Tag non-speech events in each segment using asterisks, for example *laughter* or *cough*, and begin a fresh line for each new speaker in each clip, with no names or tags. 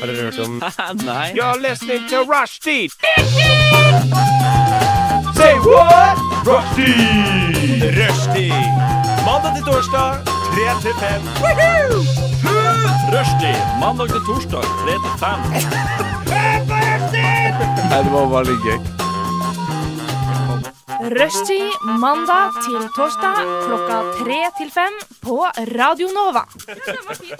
Har dere hørt om
Nei.
You're listening to Rushdie. Say what? Rushdie. Rushdie. Mandag til torsdag, 3 til 5.
Rushdie. Mandag til torsdag, 3 til 5.
Rushtid mandag til torsdag klokka tre til fem på Radio Nova.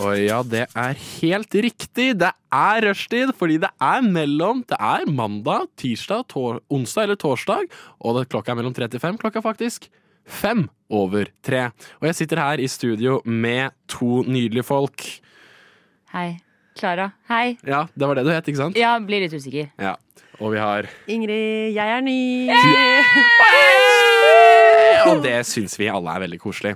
Å ja, det er helt riktig. Det er rushtid, fordi det er mellom Det er mandag, tirsdag, tor onsdag eller torsdag, og det, klokka er mellom tre til fem. Klokka er faktisk fem over tre. Og jeg sitter her i studio med to nydelige folk.
Hei. Klara. Hei.
Ja, det var det du het, ikke sant?
Ja, blir litt usikker.
Ja. Og vi har
Ingrid, jeg er ny.
Og det syns vi alle er veldig koselig.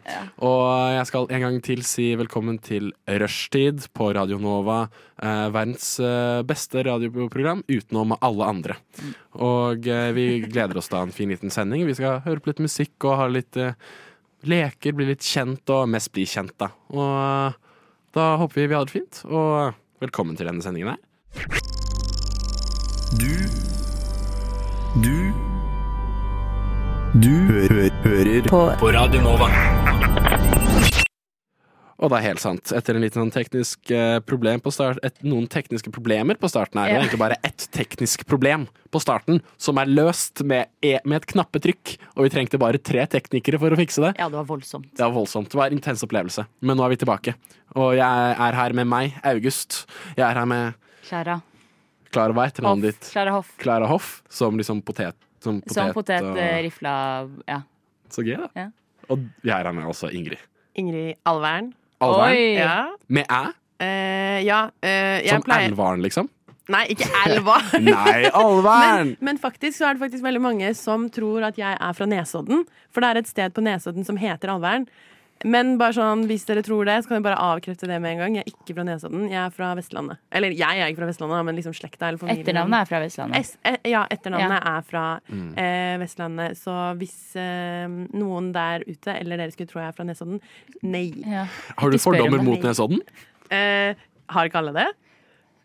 Og jeg skal en gang til si velkommen til Rushtid på Radio Nova. Eh, verdens eh, beste radioprogram utenom alle andre.
Mm.
Og eh, vi gleder oss da en fin liten sending. Vi skal høre på litt musikk og ha litt eh, leker, bli litt kjent, og mest bli kjent, da. Og eh, da håper vi vi har det fint, og eh, velkommen til denne sendingen her.
Du Du Du hø hø hører på. Radio Nova.
Og det er helt sant. Etter en liten teknisk eh, problem på start, et, noen tekniske problemer på starten her, det
Ja.
er egentlig bare ett teknisk problem på starten, som er løst med, e- med et knappetrykk. Og vi trengte bare tre teknikere for å fikse det.
Ja, det var voldsomt.
Det var voldsomt. Det var en intens opplevelse. Men nå er vi tilbake. Og jeg er her med meg, August. Jeg er her med
Klara
Klara Hva er etternavnet
Hoff.
ditt?
Klara Hoff.
Klara Hoff, som liksom potet. Som potet,
Som potet,
og-
eh, rifla ja.
Så gøy, da.
Ja.
Og jeg er her med også Ingrid.
Ingrid Alvern.
Alvern.
Oi!
Ja.
Med æ?
Eh, ja eh, jeg
Som
pleier
Elvaren, liksom?
Nei, ikke Elva.
*laughs* Nei,
*laughs*
Men,
Alvern!
men faktisk så er det faktisk veldig mange som tror at jeg er fra Nesodden. For det er et sted på Nesodden som heter Alvern. Men bare sånn, hvis dere tror det, så kan jeg bare avkrefte det med en gang. Jeg er ikke fra Nesodden, jeg er fra Vestlandet. Eller jeg er ikke fra Vestlandet, men liksom slekta eller familien.
Etternavnet er fra Vestlandet.
S eh, ja, etternavnet er fra
Mm.
eh, Vestlandet. Så hvis eh, noen der ute, eller dere skulle tro jeg er fra Nesodden, nei.
Ja.
Har du
Ikke spør om
fordommer
det.
mot Nesodden?
Eh, har ikke alle det?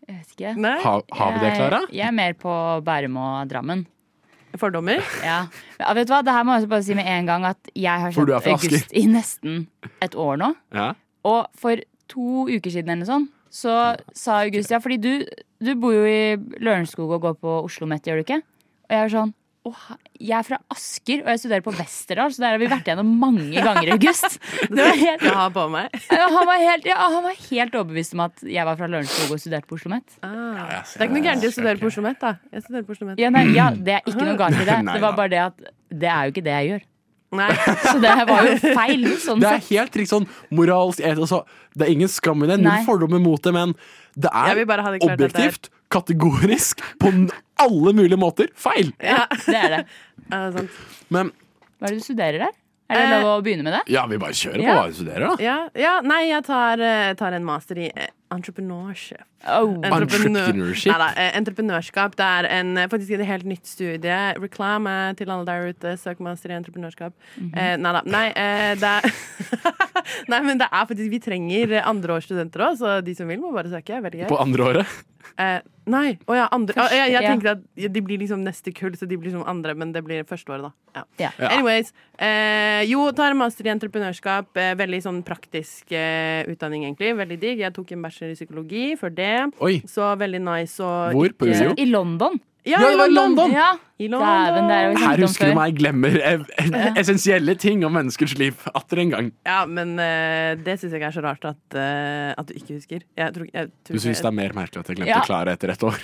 Jeg vet ikke.
Nei? Eh,
Ha, har vi det, Klara?
Jeg, jeg er mer på Bærum og Drammen.
Fordommer?
Ja. Ja, vet du hva? Det her må jeg også bare si med en gang at jeg har
For
kjent
du er fra Asker.
August i nesten et år nå.
Ja.
Og for to uker siden eller sånn, så sa August ja, fordi du, du bor jo i Lørenskog og går på Oslo Met, gjør du ikke? Og jeg var sånn Åh, jeg er fra Asker, og jeg studerer på Westerdal, så der har vi vært gjennom mange ganger,
*laughs*
August. Det var helt,
Jeg har på meg.
han, var helt, ja, han var helt overbevist om at jeg var fra Lørenskog og studerte på Oslo Met.
*laughs* Ah. Det er ikke noe gærent i å studere på Oslo Met, da. Jeg studerer på Oslo Met.
Ja, nei, ja, det er ikke noe galt i det.
Nei,
Det
da.
var bare det at det er jo ikke det jeg gjør.
Nei.
Så det var jo feil. Sånn
Det er
sett.
helt riktig sånn moralsk et- altså, Det er ingen skam i det, null
Nei.
fordommer mot det, men det
Jeg
er
vil bare ha det klart at det er-
objektivt, kategorisk, på n- alle mulige måter feil.
Ja, det er det.
Ja, det er sant.
Men
Hva er det du studerer der? Er det lov å begynne med det?
ja, vi bare kjører på
Ja.
hva vi studerer, da.
Ja, ja, nei, jeg tar, eh, tar en master i eh, entrepreneurship.
Oh.
Entreprenør-
Entrepreneurship?
Neida, eh, entreprenørskap. Det er en, eh, faktisk et helt nytt studie. Reklame til alle der ute. Søk master i entreprenørskap. eh, neida. Nei, eh, det er *laughs* Nei, men det er faktisk Vi trenger andreårsstudenter òg, så de som vil, må bare søke. Veldig gøy.
På andre året.
Eh, nei. Å ja, andre. Å, jeg,
Første,
jeg
ja.
tenker at de blir liksom neste kull, så de blir liksom andre, men det blir førsteåret, da. Ja.
Ja.
Ja.
Anyways, eh, jo, tar en master i entreprenørskap. Eh, veldig sånn praktisk eh, utdanning, egentlig. Veldig digg. Jeg tok en bachelor i psykologi for det.
Oi.
Så veldig nice og
Hvor? På UiO?
I London.
Ja,
Ja,
i
det var i
London!
London!
Ja.
I
Dæven, det er jo
Her
ikke
London.
snakket om
husker du
før.
meg glemmer ev- essensielle ting om menneskers liv atter en gang.
Ja, men eh, det syns jeg ikke er så rart at, eh, at du ikke husker. Jeg tror, jeg tror
Du syns det er mer merkelig at jeg glemte
Ja.
Klara etter et år?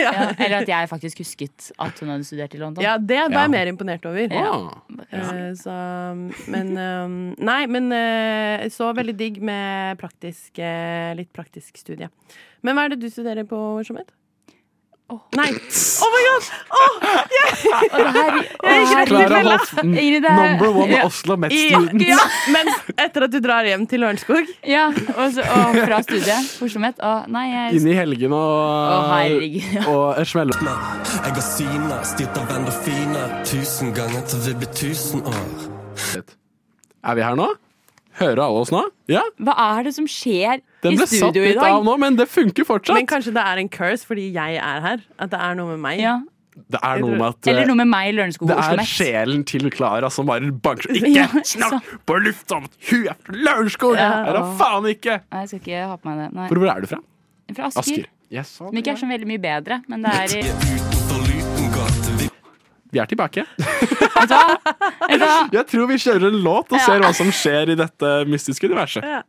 Ja, eller at jeg faktisk husket at hun hadde studert i London.
Ja, det var
Ja.
jeg mer imponert over.
Ah.
Eh, Så, men eh, Nei, men eh, så veldig digg med praktisk eh, litt praktisk studie. Men hva er det du studerer på, Sjomet? Nei! Oh my god!
Og det her, og her
Klara Hoff, n-
Ingrid, det er-
number one
Ja.
Oslo Met
I,
*laughs* student.
ja. Men etter at du drar hjem til Lørenskog
ja, og, så, og fra studiet. Morsomhet. Å, nei, jeg
Inn i helgen
Å,
og,
herregud.
og smelle
Jeg har syna, styrt av endorfiner, tusen ganger til vi blir tusen år.
Er vi her nå? Hører alle oss nå? Ja,
Hva er det som skjer i
Den ble satt
studio i
litt av
dag?
nå, men det funker fortsatt.
Men kanskje det er en curse fordi jeg er her? At det er noe med meg?
Ja.
det er noe med at
Eller
eh,
noe med meg i Lørenskog
det
og Oslo
er
Met.
sjelen til Klara som bare
*laughs*
banker Ikke
Ja,
snakk på lufta om at hun er fra Lørenskog!
Ja.
Er da faen ikke!
Nei, jeg skal ikke ha på meg det. Nei.
Hvor, hvor er du fra?
Fra Asker.
Asker. Yes.
Som ikke er så veldig mye bedre, men det er i
Utenfor liten gate vi
Vi er tilbake.
Vet du hva? Vet du hva?
Jeg tror vi kjører en låt og ser hva som skjer i dette mystiske universet.
Ja.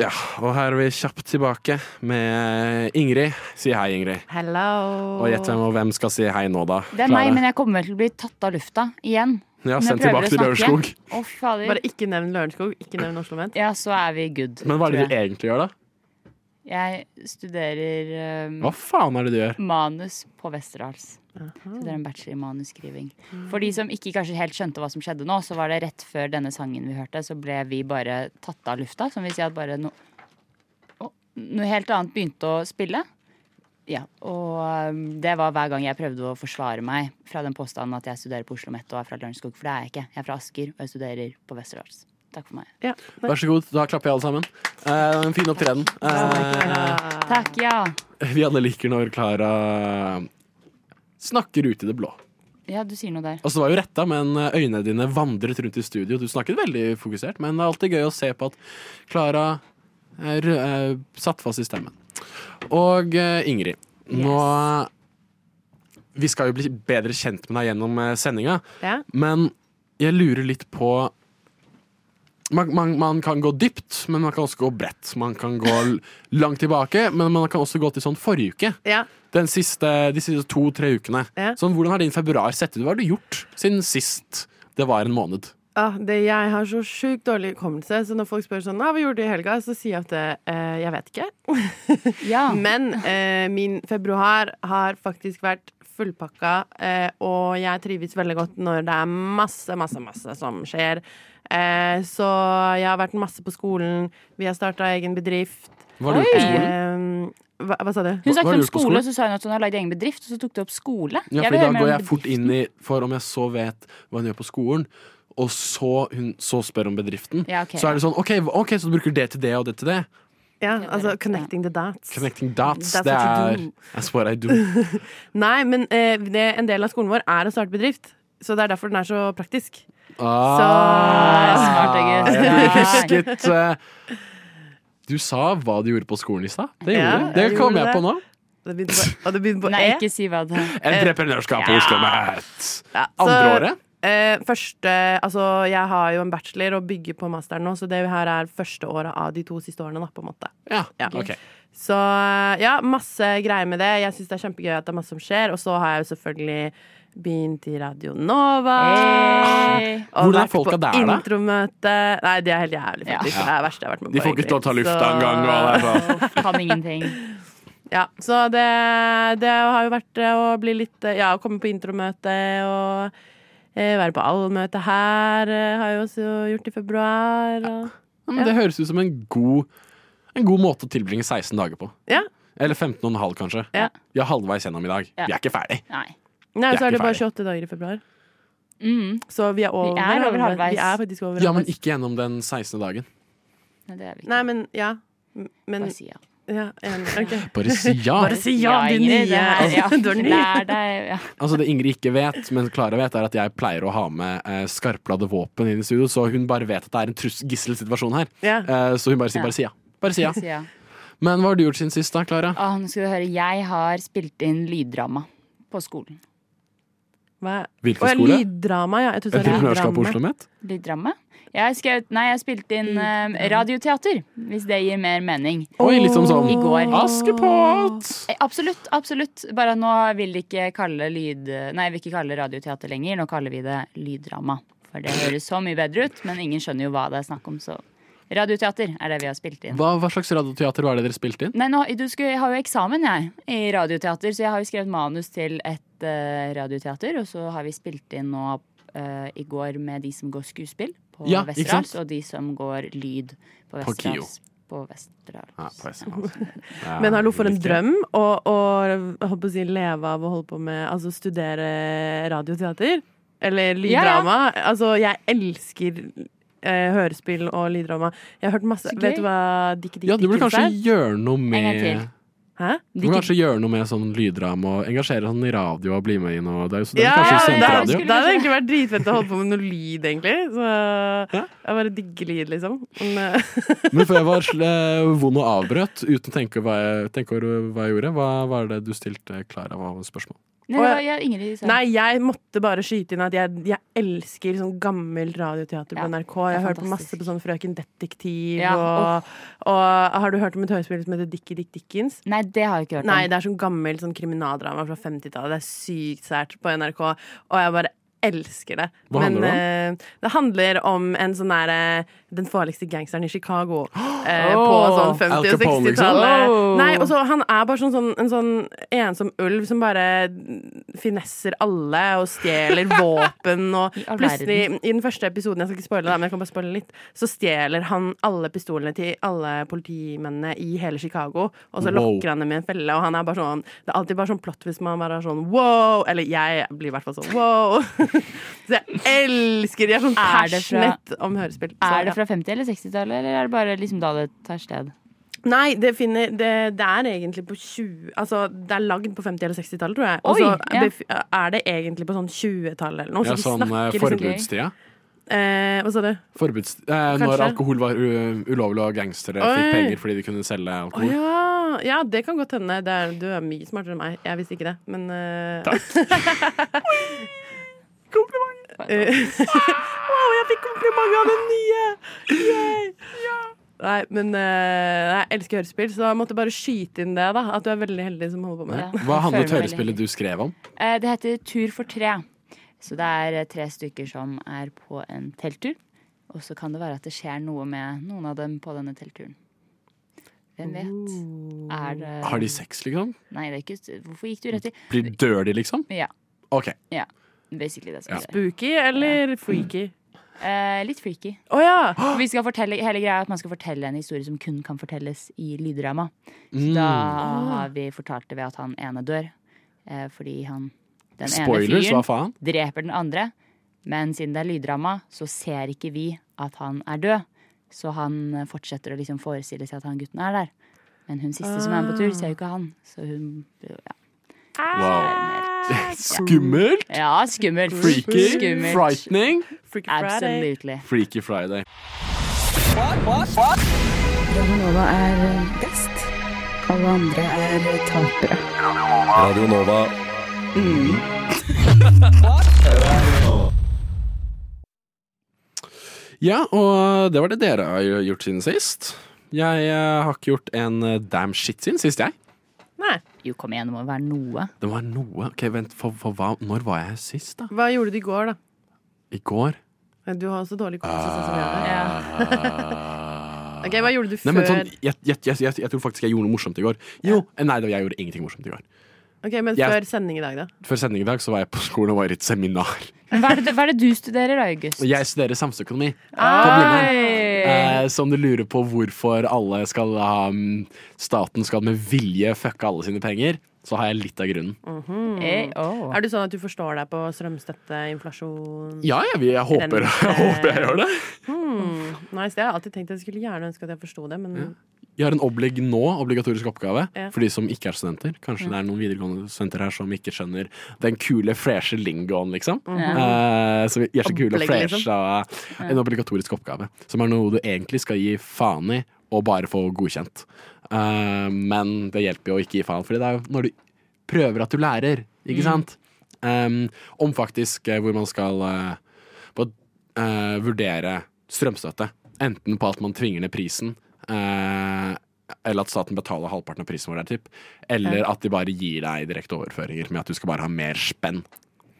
Ja, og her er vi kjapt tilbake med Ingrid. Si hei, Ingrid.
Hello.
Og gjett hvem og hvem skal si hei nå, da?
Det er meg, men jeg kommer vel til å bli tatt av lufta igjen.
Ja,
Men jeg
Send
prøver
tilbake
å
til
snakke.
Lørenskog.
Å, fader.
Bare ikke nevn Lørenskog, ikke nevn Oslo Met.
Ja, så er vi good.
Men hva er det
tror
du egentlig gjør, da?
jeg. Jeg studerer um,
Hva faen er det du gjør?
manus på Westerdals. Studerer en bachelor i manusskriving. For de som ikke kanskje helt skjønte hva som skjedde nå, så var det rett før denne sangen vi hørte, så ble vi bare tatt av lufta. Som vil si at bare no, Å, noe helt annet begynte å spille. Ja, og um, det var hver gang jeg prøvde å forsvare meg fra den påstanden at jeg studerer på Oslo Met og er fra Lørenskog, for det er jeg ikke. Jeg er fra Asker, og jeg studerer på Westerdals. Takk for meg.
Ja.
Vær så god, da klapper jeg alle sammen. Eh, en fin opptreden. Eh,
Takk, ja.
vi alle liker når Klara snakker ut i det blå.
Ja, du sier noe der.
Altså, det var jo retta, men øynene dine vandret rundt i studio. Du snakket veldig fokusert, men det er alltid gøy å se på at Klara er, eh, satt fast i stemmen. Og eh, Ingrid, nå Vi skal jo bli bedre kjent med deg gjennom uh, sendinga,
Ja.
men jeg lurer litt på man, man, man kan gå dypt, men man kan også gå bredt. Man kan gå l- langt tilbake, men man kan også gå til sånn forrige uke.
Ja.
Den siste, de siste to-tre ukene.
Ja.
Sånn, hvordan har din februar sett ut? Hva har du gjort siden sist det var en måned?
Ah, det, jeg har så sjukt dårlig hukommelse, så når folk spør sånn ah, 'Hva gjorde du i helga?' så sier jeg at eh, jeg vet ikke. *laughs*
Ja.
Men eh, min februar har faktisk vært fullpakka, eh, og jeg trives veldig godt når det er masse, masse, masse som skjer. Eh, så jeg har vært masse på skolen. Vi har starta egen bedrift.
Var du ute på skolen?
Eh, hva, hva sa du?
Hun
Hva- hva
snakket
har
om
du gjort på
skole,
skolen?
og så sa hun at hun har lagd egen bedrift, og så tok du opp skole.
Ja,
Jeg
for
vil
i
høre
dag
mer om
går jeg
bedrift.
fort inn i For om jeg så vet hva hun gjør på skolen, og så, hun, så spør om bedriften,
Ja, ok.
så er det sånn OK, hva- ok, så du bruker det til det og det til det.
Ja, altså Connecting the dots.
Connecting dots.
That's
Det
what you
er
do.
That's what
*laughs*
I do.
Nei, men eh, det, en del av skolen vår er å starte bedrift. Så det er derfor den er så praktisk. Så
smart,
Ah,
August.
jeg
Ja.
husket eh, Du sa hva du gjorde på skolen i stad. Det gjorde
Ja,
du. Det
jeg
kom
gjorde
jeg
det.
på nå.
Det begynte på, og det begynte på
Nei,
E.
ikke si hva det er.
Entreprenørskap på Oslo Met.
Ja,
Andre
så,
året?
Eh, første, altså Jeg har jo en bachelor og bygger på masteren nå, så det her er første året av de to siste årene. Da, på en måte.
Ja,
Ja.
ok.
Så eh, ja, masse greier med det. Jeg syns det er kjempegøy at det er masse som skjer. Og så har jeg jo selvfølgelig begynt i Radio Nova. Ah.
Hey.
Og
Hvordan er
vært
folka
på
der, da?
Intromøte. Nei, de er helt jævlig,
Ja.
faktisk. Det er det verste jeg har vært med på.
De får ikke til å ta
egentlig.
lufta
Så-
engang.
Kan ingenting.
Ja, så det, det har jo vært eh, å bli litt eh, Ja, å komme på intromøte og eh, være på allmøte her eh, har jeg også gjort i februar. Og,
Ja, men det høres ut som en god, en god måte å tilbringe 16 dager på.
ja.
Eller 15 og en halv, kanskje.
Ja.
Vi er halvveis gjennom i dag.
Ja.
Vi er ikke ferdig.
Nei.
Nei,
Jeg er
så er
ikke
det bare
ferdig.
28 dager i februar.
Mm.
Så vi er over,
Vi er over halvveis.
Vi er faktisk over
Ja, men
halvveis.
ikke gjennom den 16. dagen.
Nei, det er vi ikke.
Nei, men ja. M- Men
Bare si ja.
ja,
*laughs*
enig. Ok.
Bare si ja!
Bare si ja, du
Ingrid, det
nye.
her- ja.
*laughs* Du er ny.
Lær deg ja.
Altså Det Ingrid ikke vet, men Klara vet, er at jeg pleier å ha med eh, skarpladde våpen inn i studio, så hun bare vet at det er en trus- gisselsituasjon her.
Ja.
Eh, så hun bare sier
Ja.
bare si ja. Bare si ja.
Si ja.
Men hva har du gjort siden sist, da, Klara?
Å, nå skal du høre. Jeg har spilt inn lyddrama på skolen.
Hva?
Hvilken
Å, ja,
skole?
Lyddrama, ja. Jeg trodde det var
Entreprenørskap på
lyddrama.
Oslo Met?
Lyddrama? Jeg har skrevet Nei, jeg spilte inn eh, radioteater, hvis det gir mer mening.
Oi, litt som sånn
I går.
Askepott!
Eh, Absolutt. absolutt Bare nå vil de ikke kalle lyd Nei, vi ikke kalle radioteater lenger. Nå kaller vi det lyddrama. For det høres så mye bedre ut, men ingen skjønner jo hva det er snakk om, så Radioteater er det vi har spilt inn.
Hva, hva slags radioteater var det dere spilte inn?
Nei, nå, du skulle, jeg har jo eksamen, jeg, i radioteater, så jeg har jo skrevet manus til et eh, radioteater. Og så har vi spilt inn nå eh, i går med de som går skuespill på
Ja, ikke sant?
Westerdals, og de som går lyd på
KIO.
Westerdals. På Westerdals.
Ja, på SMS. Ja,
Men hallo, for en
riktig.
drøm å, å, jeg holdt på å si, leve av å holde på med Altså studere radioteater. Eller lyddrama. Altså, jeg elsker eh, hørespill og lyddrama. Jeg har hørt masse
Så gøy.
Vet du hva Dikki Dikki
Ja, du burde
Dickens
kanskje
er?
gjøre noe
En
med
gang til.
Hæ?
Du må kanskje gjøre noe med sånn lyddrama og engasjere sånn i radio og bli med i noe. Det er jo så det er
Ja,
kanskje
ja,
sendt
det
er-
radio.
hadde- det hadde egentlig vært dritfett å holde på med noe lyd, egentlig. Så jeg bare digger lyd, liksom. Men, eh, *laughs*
Men før jeg var sl- eh, vond og avbrøt uten å tenke, hva jeg, tenke over hva jeg gjorde, hva var det du stilte Klara hva var spørsmål?
Nei, det var- ja, Ingrid sa
nei, jeg måtte bare skyte inn at jeg, jeg elsker sånn gammel radioteater
Ja,
på NRK. Jeg har hørt på masse
fantastisk.
på sånn Frøken Detektiv
Ja,
og, og Har du hørt om et hørespill som heter Dikki Dick Dickens?
Nei, det har jeg ikke hørt
Nei,
om.
det er sånn gammel sånn kriminaldrama fra 50-tallet. Det er sykt sært på NRK, og jeg bare elsker det.
Hva handler det
det om? det handler om en sånn derre Den farligste gangsteren i
*gasps*
Chicago. Eh, på sånn 50-
Al
og
Capone, liksom?
60-tallet.
Oh.
Nei, og så han er bare sånn, sånn, en sånn ensom ulv som bare finesser alle og
*laughs*
stjeler våpen og
I all
plutselig i den første episoden, jeg skal ikke spoile det, men jeg kan bare spoile litt, så stjeler han alle pistolene til alle politimennene i hele Chicago, og så
Wow.
lokker han dem i en felle, og han er bare sånn, det er alltid bare sånn plott hvis man bare er sånn, wow, eller jeg blir i hvert fall sånn, wow. *laughs* så jeg elsker, jeg er sånn
Er det fra-
passionate om hørespill. Så,
Er det
ja.
fra 50- eller 60-tallet, eller er det bare liksom da det tar sted?
Nei, det, finner, det, det er egentlig på 20 Altså, det er lagd på 50- eller 60-tallet, tror jeg. Og
Oi,
så
ja.
bef- er det egentlig på sånn 20-tallet eller noe.
Ja,
Så
sånn
vi
eh,
snakker liksom
forbudstida.
eh, Hva sa du?
Forbuds, eh, når
Kanskje.
alkohol var u ulovlig og gangstere fikk
Oi.
penger fordi de kunne selge
Å
alkohol.
ja. ja, det kan godt hende. Det er, du er mye smartere enn meg. Jeg visste ikke det, men eh, *laughs* Takk. *laughs* Kompliment. Eh, wow, jeg fikk kompliment av den nye! Yay. Nei, men eh, jeg elsker hørespill, så jeg måtte bare skyte inn det. da At du er veldig heldig som holder på med det.
Ja,
Hva
jeg
handlet
føler meg
hørespillet
veldig-
du skrev om?
Eh, Det heter Tur for tre. Så det er eh, tre stykker som er på en telttur. Og så kan det være at det skjer noe med noen av dem på denne teltturen. Hvem vet?
Oh.
Er det
Har de sex, liksom?
Nei, det er ikke Hvorfor gikk du rett i
Blir dirty, liksom?
Ja.
OK.
Basically det som
Ja.
skjer.
Spooky eller freaky?
Eh, litt freaky.
Å ja!
Vi skal fortelle, hele greia er at man skal fortelle en historie som kun kan fortelles i lyddrama. Så
Mm.
da har vi fortalt det ved at han ene dør. Eh, fordi han den
Spoilers,
ene
hva
fyren
faen?
dreper den andre. Men siden det er lyddrama, så ser ikke vi at han er død. Så han eh, fortsetter å liksom forestille seg at han gutten er der. Men hun siste som er med på tur, ser jo ikke han. Så hun ja. Ah,
*laughs* Wow. Skummelt?
ja, skummelt.
Freaky?
Skummelt.
Frightening?
Freaky Friday.
Absolutely.
Freaky Friday.
Radio Nova.
Ja, og det var det dere har gjort siden sist. Jeg eh, har ikke gjort en eh, damn shit siden sist, jeg.
Nei.
Jo, kom igjen, det må jo være noe.
Det var noe Ok, vent, for, for hva, når var jeg sist, da?
Hva gjorde du i går, da?
I går?
Du har også
Ah.
dårlig konsistens. som jeg har. Ok, Hva gjorde du
Nei,
før?
men sånn, jeg, jeg, jeg, jeg, jeg tror faktisk jeg gjorde noe morsomt i går. Jo, eh, Nei, det var- jeg gjorde ingenting morsomt i går.
Ok, men
Jeg-
før sending i dag, da?
Før sending i dag så var jeg på skolen og var i et seminar.
Men hva er det, hva er det du studerer, da, August?
Og jeg studerer samfunnsøkonomi.
Oi!
Eh, så om du lurer på hvorfor alle skal ha mm, staten skal med vilje fucke alle sine penger, så har jeg litt av grunnen.
Eh, oh.
Er du sånn at du forstår deg på strømstøtte, inflasjon
Ja, jeg, vil- jeg, håper, *laughs* jeg håper jeg gjør det.
Nice, det har jeg alltid tenkt. Jeg skulle gjerne ønske at jeg forsto det, men
Jeg har en oblig nå, obligatorisk oppgave,
Ja.
for de som ikke er studenter. Kanskje det er noen videregående studenter her som ikke skjønner den kule, freshe lingoen, liksom. Eh, så vi er så kule og
Opplegg,
freshe. og En obligatorisk oppgave, som er noe du egentlig skal gi faen i, og bare få godkjent. Eh, men det hjelper jo å ikke gi faen, Fordi det er jo når du prøver at du lærer, ikke sant? Um, om faktisk eh, hvor man skal eh, på, eh, vurdere strømstøtte. Enten på at man tvinger ned prisen, eh, eller at staten betaler halvparten av prisen vår, der, typ. eller at de bare gir deg direkte overføringer med at du skal bare ha mer spenn.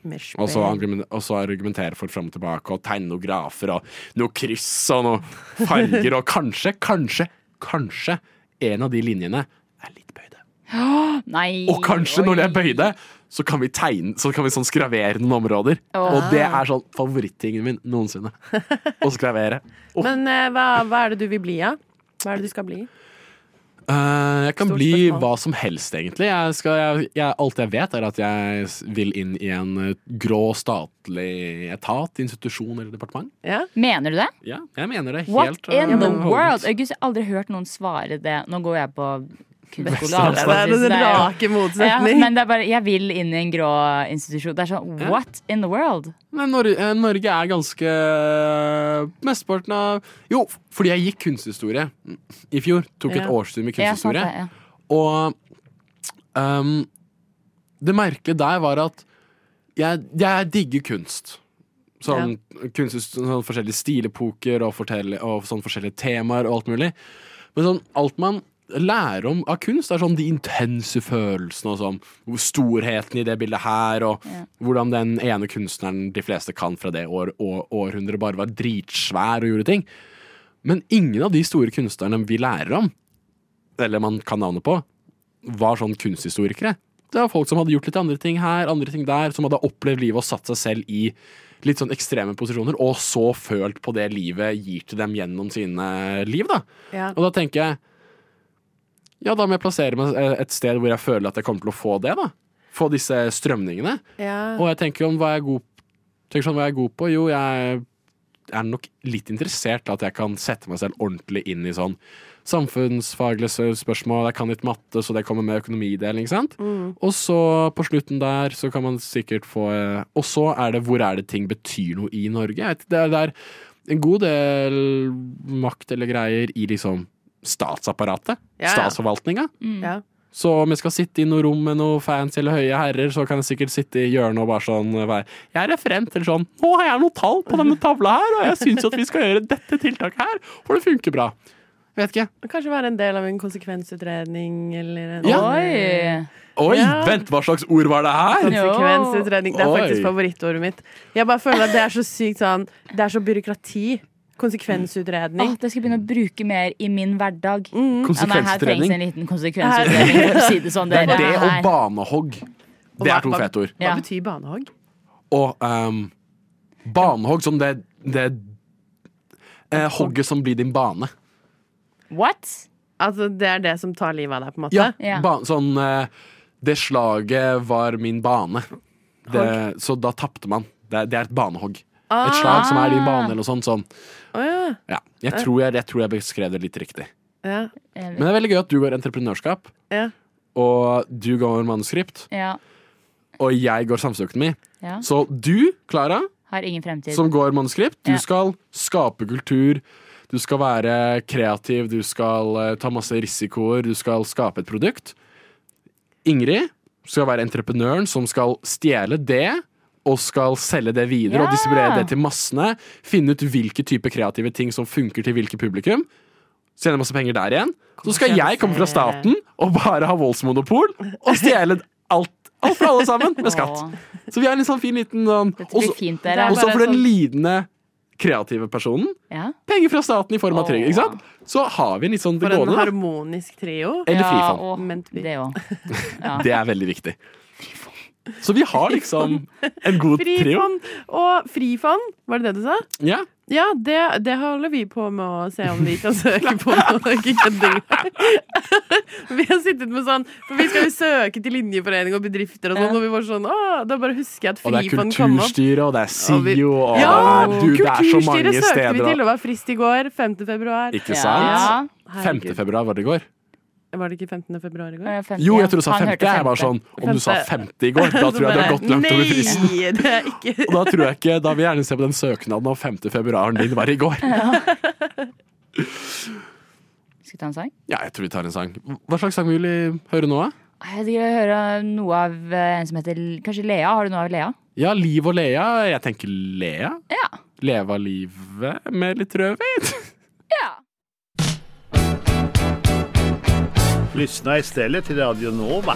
mer spenn.
Og så, argumen- og så argumentere for fram og tilbake, og tegne noen grafer og noe kryss og noen farger, og kanskje, kanskje, kanskje en av de linjene er litt bøyde.
Nei.
Og kanskje
oi.
når det er bøyde, så kan vi tegne Så kan vi sånn skravere noen områder.
Åh.
Og det er sånn favorittingen min noensinne. Å skravere.
Men eh, hva, hva er det du vil bli av? Hva er det du skal bli?
Eh, jeg kan
Stort
bli
spørsmål.
hva som helst, egentlig. Jeg skal, jeg, jeg, alt jeg vet, er at jeg s- vil inn i en eh, grå statlig etat, institusjon eller departement.
Ja?
Mener du det?
Ja, jeg mener det helt
What
eh,
in the
overhodet.
world? August, jeg har aldri hørt noen svare det. Nå går jeg på kunstskole.
Det er
altså,
den
det er jo-
rake
Ja,
motsetning.
men det er bare, jeg vil inn i en grå institusjon. Det er sånn,
Ja.
what in the world?
Nei, Nor eh, Norge er ganske eh, Mesteparten av Jo, f- fordi jeg gikk kunsthistorie i fjor. Tok et
Ja.
årsstudium i
Ja, sant
kunsthistorie.
det, ja.
Og ehm, det merkelige der var at jeg, jeg digger kunst. Sånn, kunst, sånn forskjellige stilepoker og, fortelle- og sånn forskjellige temaer og alt mulig. Men sånn, alt man lærer om av kunst, er sånn de intense følelsene og sånn. hvor Storheten i det bildet her, og
Ja.
hvordan den ene kunstneren de fleste kan fra det år, å- århundret, bare var dritsvær og gjorde ting. Men ingen av de store kunstnerne vi lærer om, eller man kan navnet på, var sånn kunsthistorikere. Det var folk som hadde gjort litt andre ting her, andre ting der, som hadde opplevd livet og satt seg selv i litt sånn ekstreme posisjoner, og så følt på det livet gir til dem gjennom sine liv, da.
Ja.
Og da tenker jeg Ja, da må jeg plassere meg eh, et sted hvor jeg føler at jeg kommer til å få det, da. Få disse strømningene.
Ja.
Og jeg tenker om hva jeg er god Tenker sånn, hva jeg er god på Jo, jeg er nok litt interessert i At jeg kan sette meg selv ordentlig inn i sånn Samfunnsfaglige s- spørsmål Jeg kan litt matte, så det kommer med økonomidelen Ikke sant?
Mm.
Og så på slutten der Så kan man sikkert få eh, Og så er det, hvor er det ting betyr noe i Norge? Jeg vet, ikke, det, er, det er en god del makt eller greier I liksom statsapparatet
Ja, ja.
Statsforvaltninga
Ja.
så om jeg skal sitte i noe rom med noen fans eller høye herrer, så kan jeg sikkert sitte i hjørnet og bare sånn være Jeg er referent til sånn Nå har jeg noen tall på denne tavla her, og jeg syns jo at vi skal gjøre dette tiltaket her, for det funker bra. Vet ikke.
Kanskje være en del av en konsekvensutredning eller en
Ja.
Oi!
Oi,
Ja.
vent, hva slags ord var det her?
Konsekvensutredning. Det er
Oi.
faktisk favorittordet mitt. Jeg bare føler at det er så sykt sånn Det er så byråkrati. Konsekvensutredning.
Åh, det skal jeg begynne å bruke mer i min hverdag. Ja, nei, her trengs
Konsekvenstrening.
en liten konsekvensutredning, for å si det sånn.
Det er
dere.
det og
Her.
banehogg. Det er to
Hva-
fete ord.
Hva
Ja.
betyr banehogg?
Og ehm, banehogg som det, det eh, Hogget som blir din bane.
What?
Altså, det er det som tar livet av deg, på en måte?
Ja,
Ja.
ba- sånn eh, Det slaget var min bane. Det, så da tapte man. Det, er- det er et banehogg. Et slag som er din bane, eller noe sånt. Sånn.
Ah. Å, ja.
Ja. Jeg, tror jeg, jeg tror jeg beskrev det litt riktig.
Ja.
Men det er veldig gøy at du går entreprenørskap,
Ja.
og du går manuskript,
Ja,
og jeg går samfunnsøkonomi.
ja.
Så du, Klara,
Har ingen fremtid.
som går manuskript, du
Ja.
skal skape kultur. Du skal være kreativ, du skal eh, ta masse risikoer, du skal skape et produkt. Ingrid skal være entreprenøren som skal stjele det, og skal selge det videre og
Ja.
distribuere det til massene. Finne ut hvilke type kreative ting som funker til hvilke publikum. Tjene masse penger der igjen. Så skal jeg komme fra staten og bare ha voldsmonopol og stjele alt, alt fra alle sammen med skatt.
Åh,
Så vi er en sånn fin liten sånn
Dette blir
også-
fint,
Det
dere.
er
og så
bare
for den
sånn-
lidende kreative personen
Ja.
penger fra staten i form av
Åh.
trygd. Ikke sant? Så har vi en litt sånn det
For en
gående. da.
harmonisk trio.
Eller
Ja,
frifond.
åh,
Ment vi.
det òg.
Det er veldig viktig. Så vi har liksom en god trio.
Frifond og frifond, var det det du sa?
Ja.
Ja, det, det holder vi på med å se om vi kan søke
*laughs*
på. Ikke kødding. *laughs* Vi har sittet med sånn For vi skal jo søke til linjeforening og bedrifter og sånn, og vi var sånn Å, da bare husker jeg at
Og det er
frifond kom opp.
kulturstyret, og det er
Og vi-
SIO, og
Ja,
du, det er så mange
Kulturstyret søkte vi
steder.
til,
Og,
det var frist i går. 5. februar.
ikke sant?
Ja.
5. februar var det i går.
Var det ikke 15. februar i går?
Ja, femte,
Jo,
ja.
jeg tror du sa
Han
50.
hørte
Jeg var sånn, om du sa 50 i går,
*laughs*
da tror jeg du har gått langt over fristen.
Nei, det er ikke
*laughs* Og da tror jeg ikke, da vil jeg gjerne se på den søknaden om 5. februaren din var i
*laughs*
går.
Skal vi ta en sang?
Ja, jeg tror vi tar en sang. Hva slags sang vil vi høre nå, da?
Jeg vil høre noe av eh, en som heter Kanskje Lea? Har du noe av Lea?
Ja, Liv og Lea. Jeg tenker Lea.
Ja.
Leve av livet med litt rødvin.
Lyssna istället till Radio Nova.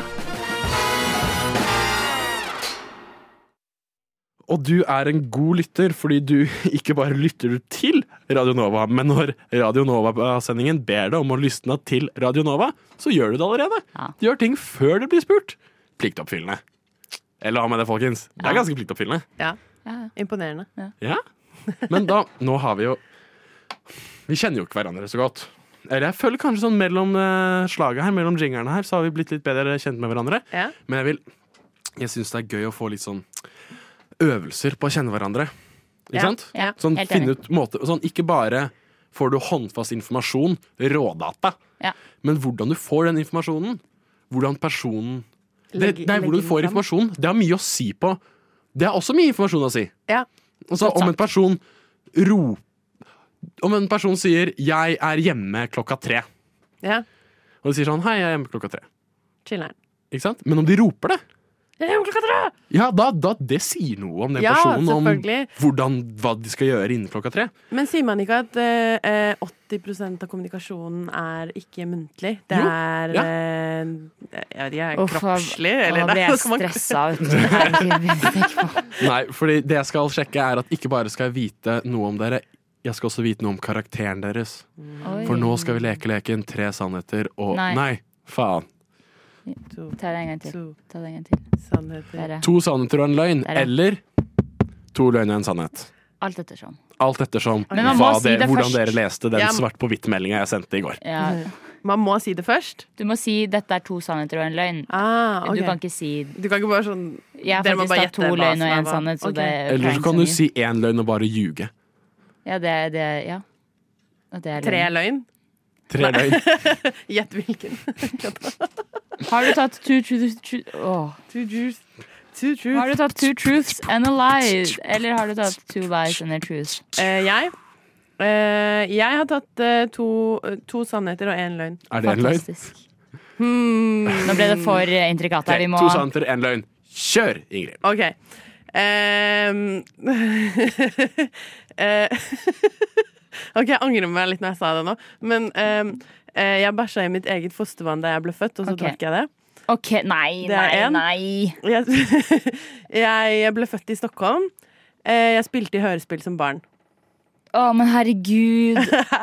*laughs* Og du er en god lytter, fordi du *laughs* ikke bare lytter du til Radio Nova, men når Radio Nova-sendingen ber deg om å lysne til Radio Nova, så gjør du det allerede.
Ja.
Du gjør ting før det blir spurt. Pliktoppfyllende. Eller hva med det, folkens? Det
Ja.
er ganske pliktoppfyllende.
Imponerende.
*laughs*
Ja. Men da, nå har vi jo Vi kjenner jo ikke hverandre så godt. Eller jeg føler kanskje sånn mellom eh, slaget her, mellom jinglene her, så har vi blitt litt bedre kjent med hverandre.
Ja.
Men jeg vil Jeg syns det er gøy å få litt sånn øvelser på å kjenne hverandre. Ikke
Ja,
sant?
ja,
sånn
helt
finne
enig.
ut måte Sånn ikke bare får du håndfast informasjon, rådata,
Ja.
men hvordan du får den informasjonen. Hvordan personen det,
Legge-
Nei, hvordan
legge
du får
den fram.
informasjon. Det har mye å si på Det er også mye informasjon å si.
Ja.
Altså, om en person ro... Om en person sier 'jeg er hjemme klokka tre',
Ja.
og de sier sånn 'hei, jeg er hjemme klokka tre',
Chiller'n.
ikke sant? men om de roper det
Jeg er klokka tre!
ja, da, da, det sier noe om den
Ja,
personen,
selvfølgelig.
om hvordan, hva de skal gjøre innen klokka tre.
Men sier man ikke at eh, eh, 80 av kommunikasjonen er ikke muntlig? Det
Jo,
er
ja.
eh, Jeg vet ikke,
Uff, hva-
kroppslig?
Nå
Eller
blir
det,
jeg
skal man-
stressa ut. *laughs* Herregud, jeg tenker på-
Nei, fordi det jeg skal sjekke er at ikke bare skal jeg vite noe om dere, jeg skal også vite noe om karakteren deres.
Oi.
For nå skal vi leke leken tre sannheter og
Nei.
Nei, faen.
To,
Ta det en gang til.
to
Ta det en gang til.
sannheter.
Dere.
To sannheter og en løgn,
Der, ja.
eller to løgn og en sannhet.
Alt sånn. ettersom.
Alt ettersom
Men man
hva
må si
dere-
det
hvordan
først.
dere leste den
Ja.
svart på hvitt-meldinga jeg sendte i går.
Ja.
Man må si det først.
Du må si 'dette er to sannheter og en løgn'.
Ah, ok.
Du kan ikke si
Du kan ikke bare sånn
Jeg har
Dere må
faktisk
bare
tatt to
gjette hva
løgn og
som er
én
hva.
sannhet, så
Ok.
det
Eller så
poeng
kan
så
du
mye.
si én løgn og bare ljuge.
Ja, det er det Ja. Og det er
tre
løgn.
løgn.
Tre løgn.
Gjett hvilken.
*laughs* Har du tatt two truths tru- Åh.
Two juice. Two
Har
truth.
du tatt two truths and a lie? Eller har du tatt two lies and a truth?
Eh, jeg eh, Jeg har tatt eh, to, to sannheter og én løgn.
Er det en løgn?
*laughs* Fantastisk. Nå ble det for eh, intrikat her. Vi må
To sannheter, én løgn. Kjør, Ingrid!
OK. Ehm, *laughs* eh, *laughs* OK, jeg angrer meg litt når jeg sa det nå, men ehm, eh, jeg bæsja i mitt eget fostervann da jeg ble født, og så
Ok.
drakk jeg det.
OK, nei,
Det
nei,
er en.
nei.
Jeg, *laughs* jeg ble født i Stockholm. Eh, Jeg spilte i hørespill som barn.
Å, men herregud.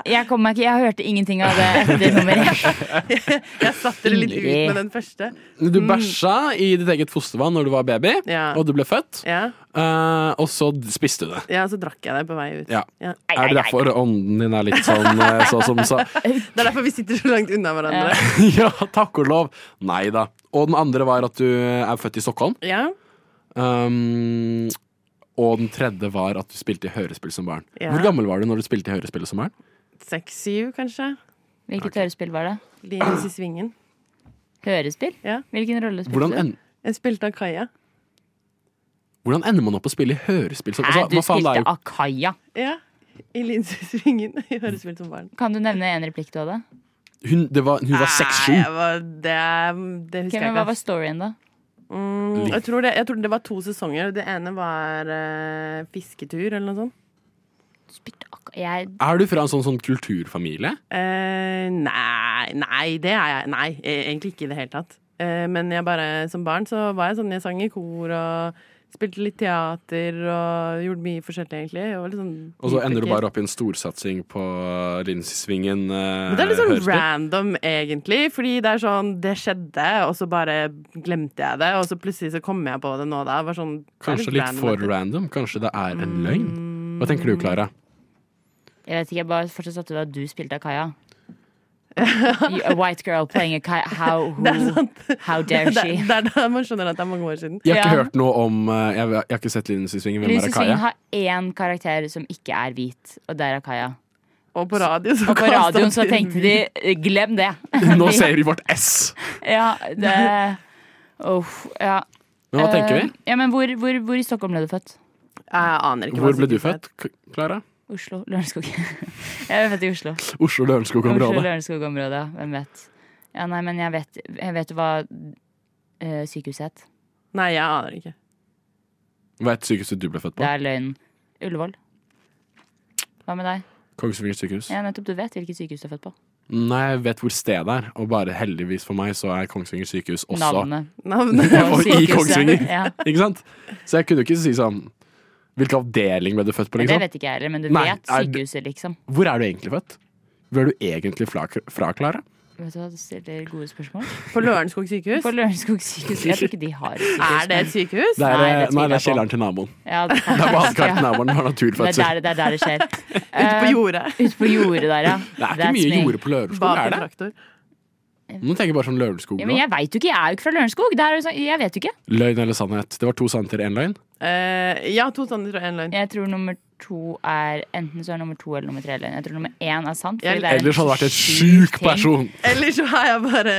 Jeg kom meg ikke Jeg hørte ingenting av det etter
*laughs*
nummer én.
Jeg satt dere litt ut
Ingrid.
med den første.
Du bæsja i ditt eget fostervann når du var baby,
Mm. Ja.
og du ble født.
Ja,
Eh, og så d- spiste du det.
ja så drakk jeg det på vei ut.
Ja.
Ja.
Er det derfor ånden din er litt sånn eh, så som så?
*laughs* Det er derfor vi sitter så langt unna
*laughs*
hverandre.
ja, takk og lov. Nei da. Og den andre var at du er født i Stockholm.
Ja,
Um, og den tredje var at du spilte i hørespill som barn.
Ja.
Hvor gammel var du når du spilte i hørespill som barn?
Seks-syv, kanskje.
Hvilket hørespill var det?
Linus i svingen.
Hørespill?
Ja.
Hvilken rolle spilte
Hvordan,
du?
en,
Jeg spilte av Kaja.
hvordan ender man opp å spille i hørespill som
Nei,
altså,
du
hva faen, det er
spilte
jo-
Akaya.
Ja, i Linus i *laughs* svingen. I hørespill som barn.
Kan du nevne en replikk du hadde?
Hun, det var- hun var
Nei,
6-7.
jeg var- Det, er- det
Ok,
husker jeg
men hva var
ikke.
storyen, da?
Mm, Jeg tror, det, jeg tror det var to sesonger. Det ene var eh, fisketur, eller noe sånt.
Du spilte Akaya. Jeg
Er du fra en sånn, sånn kulturfamilie?
Eh, nei, nei, det er jeg. Nei, e- egentlig ikke i det hele tatt. Eh, men jeg bare, som barn så var jeg sånn, jeg sang i kor og spilte litt teater og gjorde mye forskjellig, egentlig. Og, litt sånn
Og så ender du
dypdykker.
bare opp i en storsatsing på eh, Linsesvingen. Uh,
Men det er litt sånn random, egentlig. Fordi det er sånn, det skjedde, og så bare glemte jeg det. Og så plutselig så kom jeg på det nå, da. Det Var sånn, det er
Kanskje litt for
random. Mm.
random. Kanskje det er en løgn? Hva tenker du, Klara?
Jeg vet ikke, jeg bare fortsatt satte at du spilte
*laughs*
Akaya. You- A white girl playing Akaya. How, who, how dare
sånn, Det,
she?
det er da man skjønner at det er mange år siden.
Jeg har ikke
Ja.
hørt noe om eh, Jeg, jeg har ikke sett Linsesvingen. Hvem er
Lucy Swing
Akaya?
har én karakter som ikke er hvit, og det er Akaya.
Og på radio så
Og på
kastet
radioen så
de-
tenkte de eh, glem
*laughs*
det.
*laughs* Nå ser vi vårt S!
Ja, det Uff, ja.
Men hva tenker vi?
Eh, Ja, men hvor, hvor, hvor i Stockholm ble du født?
Jeg aner ikke hva
Hvor ble du
sykehuset het.
født, K- Klara?
Oslo? Lørenskog. *laughs* jeg ble født i Oslo. Oslo
Oslo-Lørenskog-området.
Lørenskog-området, ja. hvem vet. Ja, nei, men jeg vet, jeg vet hva eh, sykehuset het.
Nei, jeg aner ikke.
Hva het sykehuset du ble født
Det
på?
er løgnen. Ullevål. Hva med deg?
Kongsvinger sykehus?
Ja, nettopp, du vet hvilket sykehus du er født på.
Nei, jeg vet hvor stedet er, og bare heldigvis for meg så er Kongsvinger sykehus også
Navnet.
*laughs*
Navnet.
Og i
sykehuset.
Kongsvinger.
*laughs* Ja.
Ikke sant? Så jeg kunne jo ikke si sånn Hvilken avdeling ble du født på?
Men det
Liksom?
vet ikke jeg heller, men du
Nei,
vet
er du-
sykehuset, liksom.
Hvor er du egentlig født? Hvor er du egentlig fra, fra Klara?
Vet du hva, du stiller gode spørsmål.
På Lørenskog sykehus?
På Lørenskog sykehus Jeg tror ikke de har
Er det et
sykehus.
sykehus?
Det er,
Nei, det
nei, det er
tviler jeg
kjelleren til naboen.
men- *laughs* Ja, det,
*laughs* Det er badekaret til naboen. Det var
det, er
naturfødsel.
der, det er der det skjer.
Ute på jordet.
Ute på jordet der, ja.
Det er ikke mye jorde på Lørenskog,
Bak
er
en
det?
traktor.
Nå tenker jeg bare sånn Lørenskog
Ja,
nå.
men jeg veit jo ikke, jeg er jo ikke fra Lørenskog. Det er jo sånn, jeg vet jo ikke.
Løgn eller sannhet. Det var to sannheter, én løgn.
Eh, ja, to sannheter og én løgn.
Jeg tror nummer to er enten så er nummer to eller nummer tre løgn. Jeg tror nummer én er sant. fordi
Jeg-
det er en
Ellers hadde det vært et
sjuk
sjuk
ting.
person.
Eller så er jeg bare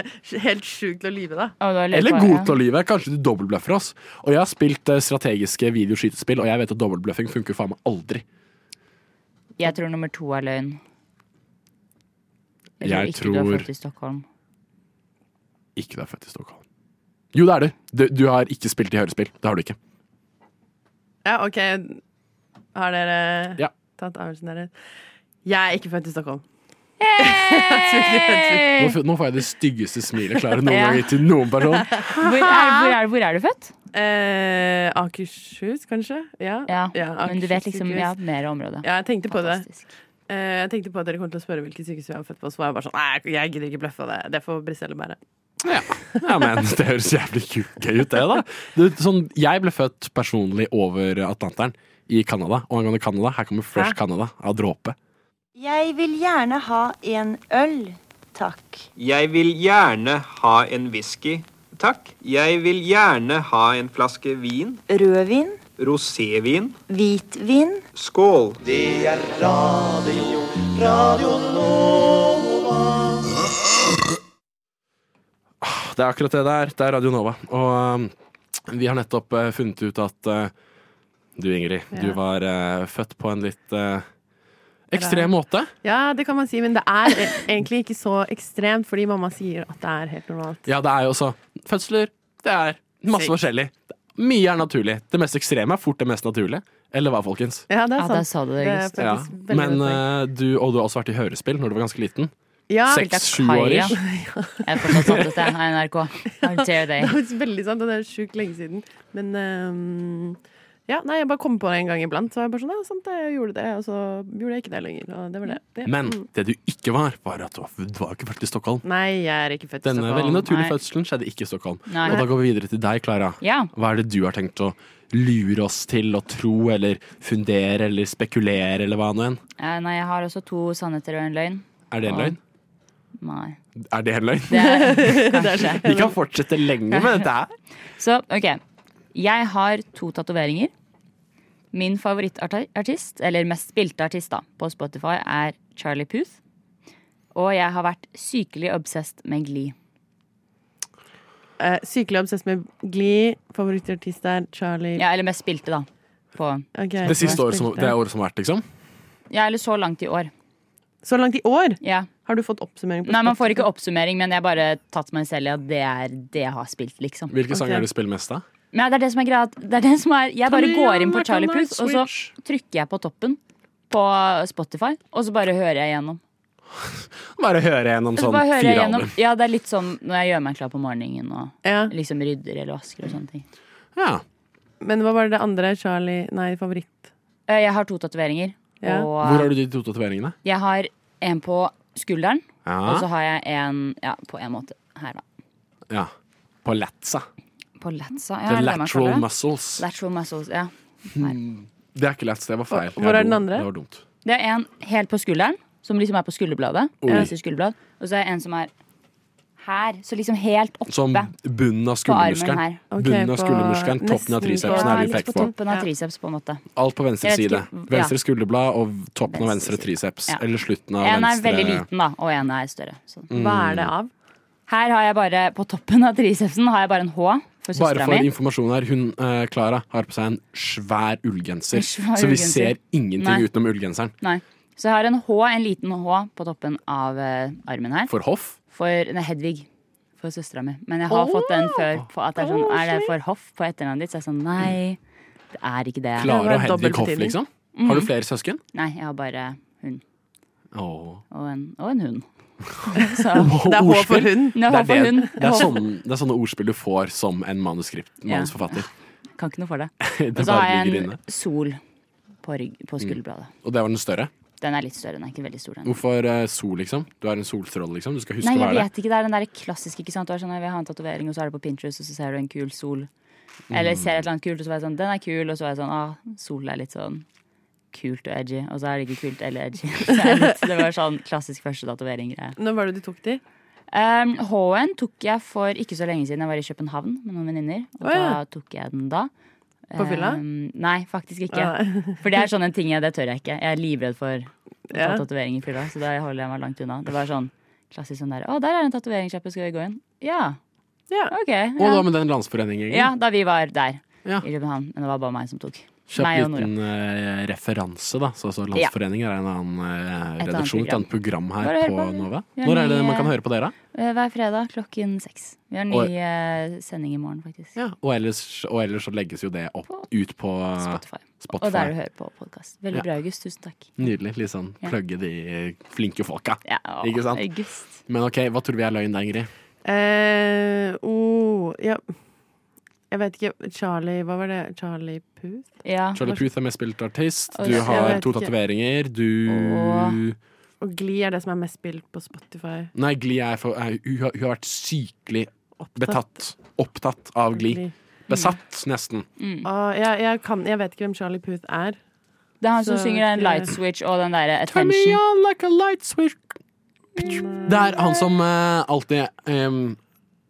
helt sjuk til å lyve, da.
Å, da lurer jeg
Eller
på-
god
ja.
til å lyve. Kanskje du dobbeltbløffer oss. Og jeg har spilt eh, strategiske videoskytespill, og jeg vet at dobbeltbløffing funker faen meg aldri.
Jeg tror nummer to er løgn. Jeg tror
Jeg
ikke du er
tror-
født i
*laughs*
Stockholm.
Ikke da jeg er født i Stockholm. Jo, det er du. Du, du har ikke spilt i hørespill. Det har du ikke.
Ja, OK. Har dere
Ja.
tatt avgjørelsen deres? Jeg er ikke født i Stockholm.
Nå, f- nå får jeg det styggeste smilet klare noen
*laughs* Ja.
gang til noen person.
Hvor er, hvor, er, hvor er du født?
Eh, Akershus, kanskje? Ja.
Ja, Men du
Akershus
vet liksom
sykehus.
ja, mer om området.
Ja, jeg tenkte på det.
Fantastisk.
Eh, jeg tenkte på at dere kommer til å spørre hvilket sykehus vi har født på. Så var jeg bare sånn, nei, jeg gidder ikke bløffe det. Det får Briselle bære.
Ja, men Det høres jævlig ku- gøy ut, det, da. Du, sånn, jeg ble født personlig over Atlanteren i Canada. Og angående Canada, her kommer Fresh
Hæ?
Canada av dråpe.
Jeg vil gjerne ha en øl, takk.
Jeg vil gjerne ha en whisky, takk. Jeg vil gjerne ha en flaske vin,
Rødvin,
rosévin.
hvitvin.
Skål!
Det er akkurat det det er. Det er Radio Nova. Og um, vi har nettopp eh, funnet ut at eh, du, Ingrid, du
Ja.
var eh, født på en litt eh, ekstrem måte.
Ja, det kan man si, men det er e- egentlig ikke så ekstremt, fordi mamma sier at det er helt normalt.
Ja, det er jo også fødsler. Det er masse
Sykt.
forskjellig. Mye er naturlig. Det mest ekstreme er fort det mest naturlige. Eller hva, folkens?
Ja, det
Ja,
er
der
sant.
sa du det,
Det er
August.
Ja.
faktisk veldig
Men
godt poeng.
eh, du, og du har også vært i hørespill når du var ganske liten.
ja,
seks-
Spilte
sju
Kaja.
*laughs*
år ish.
Jeg har fortsatt tatt dette av NRK. How dare they.
det er faktisk veldig sant, og det er sjukt lenge siden. Men ehm, ja, nei, jeg bare kom på det en gang iblant. Så var jeg bare sånn, ja, sant, jeg gjorde det, og så gjorde jeg ikke det lenger. Og det var det. det. mm.
Men det du ikke var, var at du var, du var ikke født i Stockholm.
Nei, jeg er ikke født i
Denne veldig
Stockholm.
naturlige
Nei.
fødselen skjedde ikke i Stockholm.
Nei.
Og da går vi videre til deg, Klara.
Ja.
Hva er det du har tenkt å lure oss til å tro eller fundere eller spekulere eller hva nå enn?
Eh, Nei, jeg har også to sannheter og en løgn.
Er det en løgn?
Nei.
Er det en løgn? *laughs*
Det er kanskje.
Vi kan fortsette lenge med dette her.
Så, ok. Jeg har to tatoveringer. Min favorittartist, eller mest spilte artist da, på Spotify, er Charlie Puth. Og jeg har vært sykelig obsessed med Glee.
Eh, sykelig obsess med Glee. Favorittartist er Charlie
Ja, eller mest spilte, da. På,
Ok,
Det siste
hva
året som,
spilte
det
jeg?
året som har vært, liksom.
ja, eller så langt i år.
Så langt i år
Ja.
har du fått oppsummering. På
Nei, man får ikke oppsummering, men jeg har bare tatt meg selv i at det er det jeg har spilt, liksom.
Hvilke
Ok.
sanger er det du spiller mest av?
Men det er det som er greia. at- Det er det som er, jeg bare går inn på Charlie Puth, og så trykker jeg på toppen på Spotify, og så bare hører jeg igjennom.
Bare høre gjennom
Så
sånn
bare hører jeg
fire
gjennom.
album.
Ja, det er litt sånn når jeg gjør meg klar på morgenen og
Ja.
liksom rydder eller vasker og sånne ting.
Ja.
Men hva var det andre? Charlie Nei, favoritt.
Eh, Jeg har to tatoveringer.
Ja.
Hvor har
Og
du de to tatoveringene?
jeg har en på skulderen, og så
Ja.
har jeg en ja, på en måte her, da.
ja. På latsa.
På latsa. Ja,
The
eller hva man kaller
lateral
det.
muscles.
lateral muscles. Ja.
Det er ikke lats, det var feil.
Hvor er
Jeg
den
lo.
andre?
Det var dumt.
Det er en helt på skulderen, som liksom er på skulderbladet.
Oi.
Venstre skulderblad. Og så er det en som er her. Så liksom helt oppe.
Som bunnen av
på armen
skuldermuskelen.
her.
Ok,
Bunnen av
på-
skuldermuskelen, toppen
nesten
av
på-
tricepsen
Ja,
er det
litt
effekt
på
på.
toppen av
Ja.
triceps, på en måte.
Alt på venstre
Jeg vet
side.
ikke, ja.
Venstre skulderblad og toppen av
Venstre
venstre
side.
triceps.
Ja.
Eller slutten av
En er veldig
venstre
liten, da, og en er større. Så.
Mm.
Hva er det av?
Her har jeg bare, på toppen av tricepsen, har jeg bare en H for
Bare
søstera
for
mi.
informasjon her, hun eh, Klara har på seg en svær ullgenser,
En svær
så vi
ullgenser.
ser ingenting
Nei.
utenom ullgenseren.
Nei. Så jeg har en H, en liten H, på toppen av eh, armen her.
For hoff?
For nei, Hedvig. For søstera mi. Men jeg har fått den før. På at det er, sånn, er det for hoff på etternavnet ditt? Så jeg er sånn, nei, det er ikke det.
det var
Klara og Hedvig
dobbelt
Hoff,
betydning.
liksom?
Mm.
Har du flere søsken?
Nei, jeg har bare hund.
Åh.
Og en, og en hund. Så
*laughs*
Det er H
ordspill.
for hund.
nå
Det er,
håper
det,
hun
det, er sånn. sånne, det er sånne ordspill du får som en manuskript, manusforfatter. *laughs*
Kan ikke noe for det.
Det
Og så har
bare
jeg
ligger
en
inne. Mm.
sol på, rygg, på skulderbladet.
Og det var den større?
Den er litt større. Den er ikke veldig stor. Den.
Hvorfor eh, sol, liksom? Du er en solstråle, liksom? Du skal huske
Nei,
å
jeg
være det.
vet ikke. Det er den der klassiske. ikke sant? Du er sånn, jeg vil ha en tatovering, og så er det på Pinterest, og så ser du en kul sol. Eller ser et eller annet kult, og så er jeg sånn, den er kul, og så er jeg sånn, ah, sol er litt sånn kult og edgy. Og så er det ikke kult eller edgy. *laughs* Så det er litt, det var sånn klassisk første tatovering-greie.
Når var det du tok de?
Um, H-en tok jeg for ikke så lenge siden jeg var i København med noen venninner. Og
Å, ja.
da tok jeg den da.
På fylla?
Um, nei, faktisk ikke.
*laughs*
Ah, nei.
For det er sånn en ting jeg, det tør jeg ikke. Jeg er livredd for å ta
Ja.
tatovering i fylla, så da holder jeg meg langt unna. Det var sånn klassisk sånn der Å, der er en tatoveringssjappe, skal vi gå inn? Ja,
Ja.
OK.
Og da
Ja.
med den landsforeningen.
ja, da vi var der
Ja.
i København. Men det var bare meg som tok. meg
Kjapp
og Nora.
liten eh, referanse, da. Så, så
Ja.
Landsforeningen er en annen eh,
Et annet
redaksjon, et
program.
annet program her
Bare hør
på
på.
Nova.
Vi har
Når er
ny,
det man kan
eh,
hver- høre på dere?
Eh, Hver fredag klokken seks. Vi har ny
Oi.
eh, sending i morgen, faktisk.
Ja. Og, ellers, og ellers så legges jo det opp
På
ut på eh, Spotify.
Spotify. Og der du hører på podkast. Veldig bra, August. Tusen takk.
Nydelig. Litt sånn
Ja.
plugge de flinke folka.
Ja, å,
Ikke sant?
August.
Men OK, hva tror vi er løgn da, Ingrid?
Eh, oh, ja. Jeg vet ikke. Charlie Hva var det? Charlie Puth?
Ja.
Charlie Puth er mest spilt artist.
Oi,
Du
jeg
har
vet
to
ikke.
tatoveringer. Du
Åh.
Og Glee er det som er mest spilt på Spotify.
Nei, Glee er for er- Hun har, hun har vært sykelig betatt. Opptatt av Glee. Besatt, nesten.
Mm.
Å, jeg, jeg, kan, jeg vet ikke hvem Charlie Puth er.
Det er han som
Så
synger den
ikke-
Light Switch og den derre
Turn me
Attention.
on like a light switch.
Mm,
Det er han som eh, alltid em,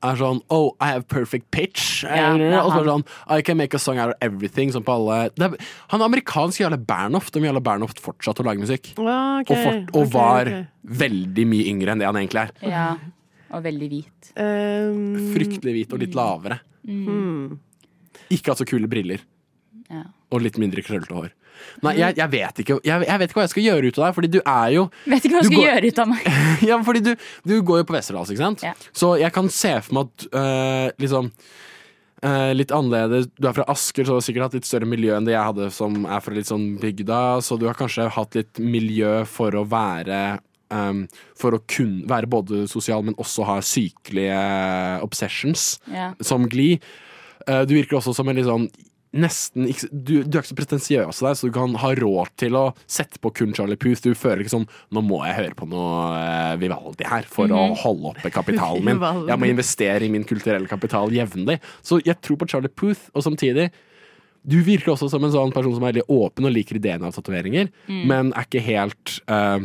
er sånn Oh, I have perfect pitch.
Ja, det er
og så er det
han.
sånn I can make a song out of everything. Sånn på alle det er, Han er amerikansk Jarle Bernhoft, om Jarle Bernhoft fortsatte å lage musikk.
Å, ok,
Og, fort, og
ok,
var
ok.
veldig mye yngre enn det han egentlig er.
*laughs* Ja. Og veldig hvit.
Ehm,
Fryktelig hvit og
Mm.
litt lavere. Mm.
hmm.
Ikke hatt så kule briller.
Ja.
Og litt mindre krøllete hår. Nei, jeg, jeg, vet ikke, jeg, jeg vet ikke hva jeg skal gjøre ut av deg, fordi du er jo *laughs*
Vet ikke hva
Du
jeg skal
går-
gjøre ut av
*laughs*
meg.
Ja, fordi du, du går jo på Westerdals, ikke sant?
Ja.
Så jeg kan se for meg at øh, liksom øh, litt annerledes. Du er fra Asker, så du har sikkert hatt litt større miljø enn det jeg hadde, som er fra litt sånn bygda. Så du har kanskje hatt litt miljø for å være øhm, For å kun, være både sosial, men også ha sykelige øh, obsessions,
Ja.
som Glee. Eh, du virker også som en litt sånn Nesten ikke, du, du er ikke så pretensiøs av deg, så du kan ha råd til å sette på kun Charlie Puth. Du føler ikke sånn 'nå må jeg høre på noe eh, Vivaldi her for å holde oppe kapitalen min'.
Vivaldi.
Jeg må investere i min kulturelle kapital jevnlig. Så jeg tror på Charlie Puth, og samtidig du virker også som en sånn person som er veldig åpen og liker ideen av tatoveringer,
Mm.
men er ikke helt eh,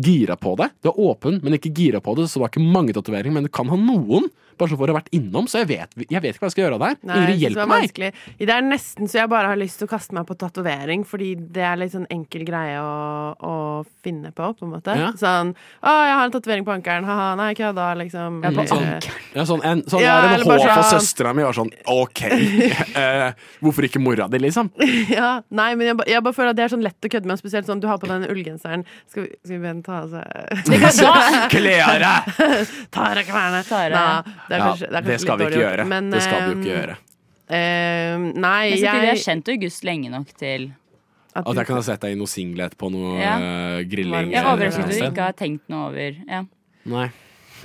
gira på det. Du er åpen, men ikke gira på det, så du har ikke mange tatoveringer, men du kan ha noen. Bare så for å ha vært innom, så jeg vet, jeg vet ikke hva jeg skal gjøre av det her.
Nei,
Ingrid,
jeg synes det
hjelp
var
meg!
vanskelig. Det er nesten så jeg bare har lyst til å kaste meg på tatovering, fordi det er litt sånn enkel greie å, å finne på, på en måte.
Ja.
Sånn 'Å, jeg har en tatovering på ankelen', ha-ha, nei, kødda, liksom.
Ja, på
Eller-
ankeren.
Ja, sånn en, sånn,
Ja,
jeg har en
eller
håp
bare
for
sånn-
søstera mi, og sånn OK,
*laughs*
eh, hvorfor ikke mora di, liksom?
ja, nei, men jeg, ba- jeg bare føler at det er sånn lett å kødde med, spesielt sånn du har på den ullgenseren. Skal vi, skal vi begynne å ta av seg *laughs*
Klær deg!
Ta av deg klærne!
Ta av deg.
Nei, det, er
Ja,
kanskje, det, er kanskje
det skal vi
litt
ikke
dårlig gjort,
gjøre.
men,
Det skal vi jo ikke gjøre.
eh, nei,
Men samtidig har jeg
jeg
kjent August lenge nok til
at
At
du-
jeg kan ha sett deg i noe singlet på noe
Ja.
eh, grilling.
Jeg er
eller
overrasket
noe
over at du
sted.
ikke har tenkt noe over ja.
Nei.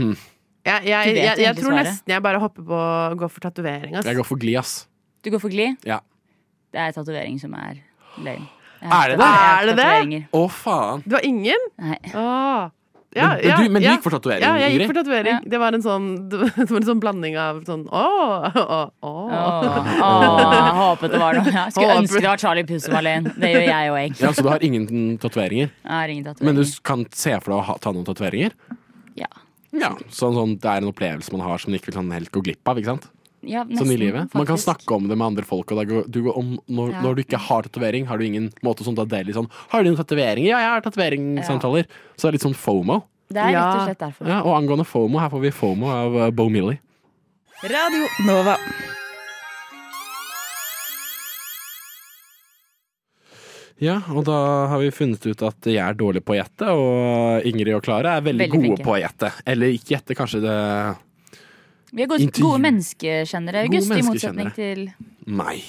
Jeg,
Du
jeg,
vet
jeg, jeg
egentlig
tror
svaret.
nesten jeg bare hopper på å gå for tatovering. ass.
Jeg går for Glee, ass.
Du går for Gli?
Ja.
Det er tatovering som er løgn. Jeg
Er
har
det det?
tatt- jeg har
Er det det?
tatoveringer.
Å, faen.
Du har ingen?
Nei.
Åh. Ja,
Men- men
ja,
du- men du
ja.
gikk for tatovering,
Ja, jeg gikk for
Ingrid?
tatovering.
Ja.
Det, var en sånn, *laughs* det var en sånn blanding av sånn åh, åh, åh.
Åh, åh, jeg håpet det var noe. Jeg skulle
Håpet.
ønske det var Charlie Puth som var løgn. Det gjør jeg og jeg.
Ja, så du har ingen tatoveringer,
Jeg har ingen
men du
tatoveringer.
kan se for deg å ha, ta noen tatoveringer?
Ja.
Ja, sånn, sånn, Det er en opplevelse man har som man ikke vil sånn helt gå glipp av. ikke sant?
Ja,
Sånn i
nesten,
livet. Man kan
faktisk.
snakke om det med andre folk. og da går, du går om, når,
Ja.
når du ikke har tatovering, har du ingen måte å sånn ta del i sånn 'Har du noen tatoveringer?' 'Ja, jeg har tatoveringssamtaler.' Så det er litt sånn FOMO.
Det er rett
Ja.
og slett derfor.
Ja, og angående FOMO, her får vi FOMO av eh, Bo Millie.
Radio Nova.
Ja, og da har vi funnet ut at jeg er dårlig på å gjette, og Ingrid og Klara er veldig,
Veldig
gode
flinke.
på å gjette. Eller ikke gjette, kanskje det
Vi er gode,
Intervju-
gode menneskekjennere,
Gode
August, i motsetning
menneskekjennere.
til
Nei.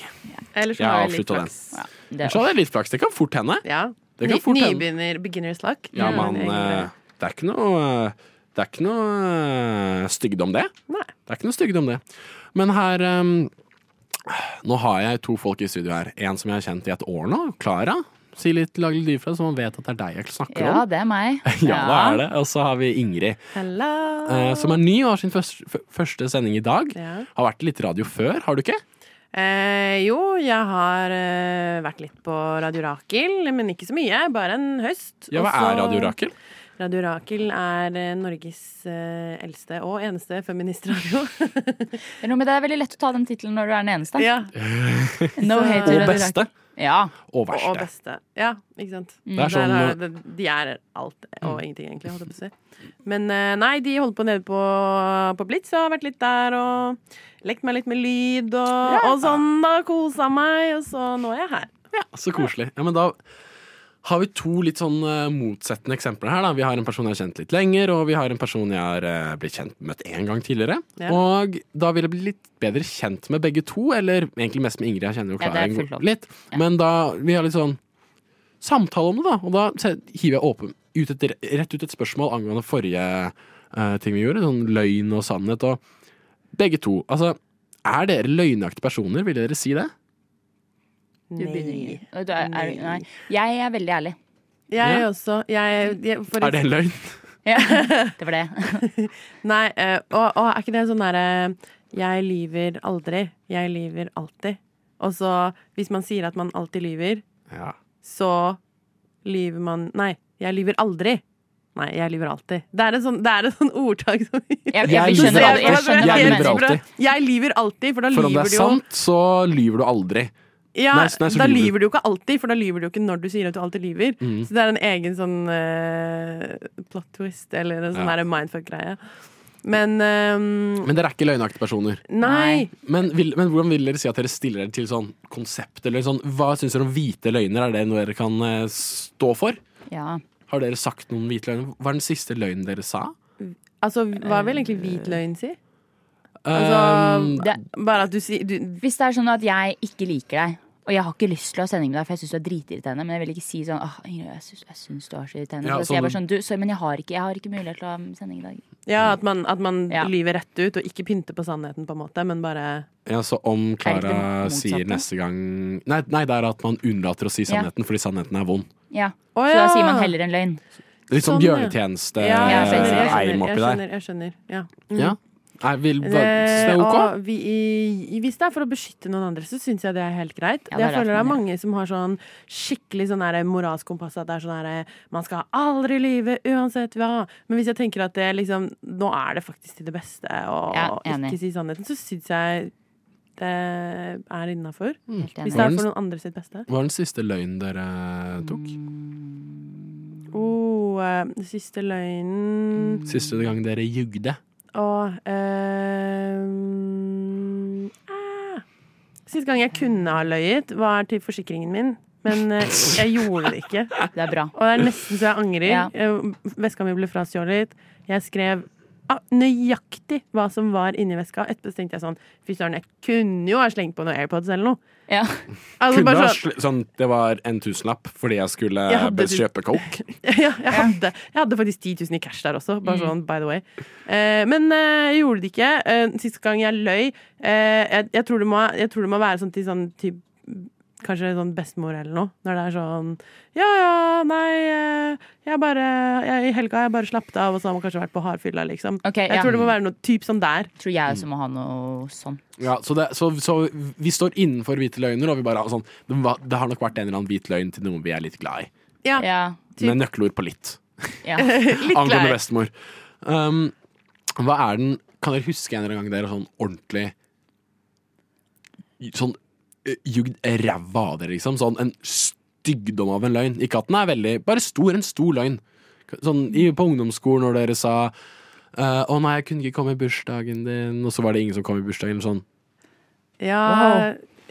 Eller så
Jeg
har jeg litt
avslutta den.
flaks.
ja, det.
Ellers hadde jeg litt flaks. Det kan fort hende.
Ja. Mm,
Det kan
Ny,
fort hende.
nybegynner, beginner's luck.
Ja,
Det er
man,
en egen greie.
eh, det er ikke noe Det er ikke noe eh, stygdom, det.
Nei.
Det er ikke noe stygdom, det. Men her ehm, eh, Nå har jeg to folk i studio her. En som jeg har kjent i et år nå, Klara. Si litt, lag litt lyd fra det, så man vet at det er deg jeg snakker
Ja,
om. *laughs*
det er meg.
Ja, det er det. Og så har vi Ingrid,
Hello.
eh, som er ny og har sin første, f- første sending i dag.
Ja.
Har vært litt radio før, har du ikke?
Eh, jo, jeg har eh, vært litt på Radio Rakel, men ikke så mye. Bare en høst.
Ja, hva
Og så-
er Radio Rakel?
Radio Rakel er eh, Norges eh, eldste og eneste feministradio. *laughs*
Det er noe med det er veldig lett å ta den tittelen når du er den eneste.
ja.
No
Så-
hate to
Og
Radio
beste.
Rakel. Ja.
Og verste.
Og, og beste. Ja, ikke sant.
Mm. Det er sånn- Mm.
Der har det- de er alt og ingenting, egentlig. Holdt jeg på å si. Men eh, nei, de holder på nede på, på Blitz. Jeg har vært litt der og lekt meg litt med lyd og, og sånn. da, Kosa meg, og så nå er jeg her.
Så koselig. Ja, men da har vi to litt sånn eh, motsettende eksempler her. Da. Vi har en person jeg har kjent litt lenger, og vi har en person jeg har eh, blitt kjent møtt én gang tidligere.
Ja.
Og da vil jeg bli litt bedre kjent med begge to, eller egentlig mest med Ingrid. Jeg kjenner jo
Ja, det
Klara
er
en god-
fullt lov.
litt. Men da vi har litt sånn samtale om det, da. Og da se- hiver jeg åpen, ut et, rett ut et spørsmål angående forrige eh, ting vi gjorde. Sånn løgn og sannhet og Begge to. Altså, er dere løgnaktige personer? Ville dere si det?
Du begynner
Nei.
Ingrid. Og du er, er, nei. Jeg er veldig ærlig.
Jeg
Ja.
også. Jeg, jeg, for
Er det en løgn?
Ja. *laughs* Det var det.
Nei, eh, og, og er ikke det sånn derre Jeg lyver aldri. Jeg lyver alltid. Og så, hvis man sier at man alltid lyver,
Ja.
så lyver man Nei, jeg lyver aldri. Nei, jeg lyver alltid. Det er et sånn, det er et sånn ordtak som *laughs*
Jeg, jeg,
Jeg lyver
skjønner, hva du- jeg
aldri.
skjønner
Jeg
hva du
lyver
mener.
alltid.
Jeg lyver alltid, for
For
da
om det
lyver
er
du jo
sant, så lyver du aldri.
ja,
Nei, nei, så
Da
lyver du.
lyver du jo ikke alltid, for da lyver du jo ikke når du sier at du alltid lyver.
Mhm.
Så det er en egen sånn eh, plot twist, eller en sånn
Ja.
der mindfuck-greie. Men ehm,
Men dere er ikke løgnaktige personer.
Nei.
Men, vil, men hvordan vil dere si at dere stiller dere til sånn konsept? Eller sånn, hva syns dere om hvite løgner? Er det noe dere kan eh, stå for?
Ja.
Har dere sagt noen hvite løgner? Hva er den siste løgnen dere sa?
Altså, hva vil egentlig hvit løgn si?
Um,
Altså,
Det,
bare at du sier du,
hvis det er sånn at jeg ikke liker deg, og jeg har ikke lyst til å ha sending med deg, for jeg syns du er dritirriterende, men jeg vil ikke si sånn Åh, Ingrid, jeg syns- jeg syns du er så irriterende.
Ja,
så sier jeg bare
sånn-
sånn du, sorry, men jeg har, ikke, jeg har ikke mulighet til å ha sending i dag.
Ja, at man, at man
Ja.
lyver rett ut, og ikke pynter på sannheten, på en måte, men bare
ja, så om
Er det
Klara
ikke det motsatte?
sier neste gang Nei, nei, det er at man unnlater å si
Ja.
sannheten fordi sannheten er vond.
Ja.
Å,
Så da
ja.
sier man heller en løgn.
Litt sånn
Sånn, ja. Ja, jeg skjønner, jeg
bjørnetjeneste-eim
skjønner. Jeg
oppi der.
skjønner, jeg skjønner ja.
Ja. Nei, vil, hva, synes
Eh,
det er ok?
og vi, i, hvis det er for å beskytte noen andre, så syns jeg det er helt greit.
Ja, det er
jeg føler
derfor
det er
man
mange som har sånn skikkelig sånn der moralsk kompass. At det er sånn der, man skal aldri lyve uansett hva. Men hvis jeg tenker at det liksom Nå er det faktisk til det beste å
Ja, enig.
ikke si sannheten, så syns jeg det er innafor.
Helt
Hvis
enig.
det er for noen andre sitt beste.
Hva er den siste løgnen dere tok?
Oh, eh, siste løgnen
Siste gang dere jugde?
Og ehm, ah. Sist gang jeg kunne ha løyet, var til forsikringen min. Men eh, jeg gjorde det ikke.
Det er bra.
Og det er nesten så jeg angrer.
Ja.
Eh, Veska mi ble frastjålet. Jeg skrev ah, nøyaktig hva som var inni veska. Etterpå tenkte jeg sånn Fy søren, jeg kunne jo ha slengt på noen AirPods eller noe.
*laughs* Ja.
Altså,
Kunne
bare
ha
sånn-
sl- sånn, det var en tusenlapp fordi jeg skulle
Jeg hadde
bes-
tusen-
kjøpe
*laughs*
coke.
ja, jeg, hadde, jeg hadde faktisk 10 000 i cash der også, bare sånn by the way. Eh, men eh, jeg gjorde det ikke. Eh, Sist gang jeg løy eh, jeg, jeg, tror det må, jeg tror det må være sånn til sånn typ, Kanskje sånn bestemor eller noe. Når det er sånn Ja, ja, nei, eh, jeg bare jeg, I helga har jeg bare slappet av, og så har man kanskje vært på hardfylla, liksom.
Ok,
jeg
ja.
tror det må være noe typ sånn der.
Tror jeg også må ha noe sånn.
Ja, så, det, så, så vi står innenfor hvite løgner, og vi bare har sånn det, var, det har nok vært en eller annen hvit løgn til noen vi er litt glad i.
Ja,
Ja.
Med nøkkelord på litt.
ja.
litt
Angående
glad.
bestemor. Um, hva er den Kan dere huske en eller annen gang dere sånn ordentlig Sånn eh, jugd ræva av dere, liksom? Sånn en styggdom av en løgn. Ikke at den er veldig Bare stor, en stor løgn. Sånn i, på ungdomsskolen når dere sa eh, 'Å nei, jeg kunne ikke komme i bursdagen din', og så var det ingen som kom i bursdagen. Eller sånn.
Ja,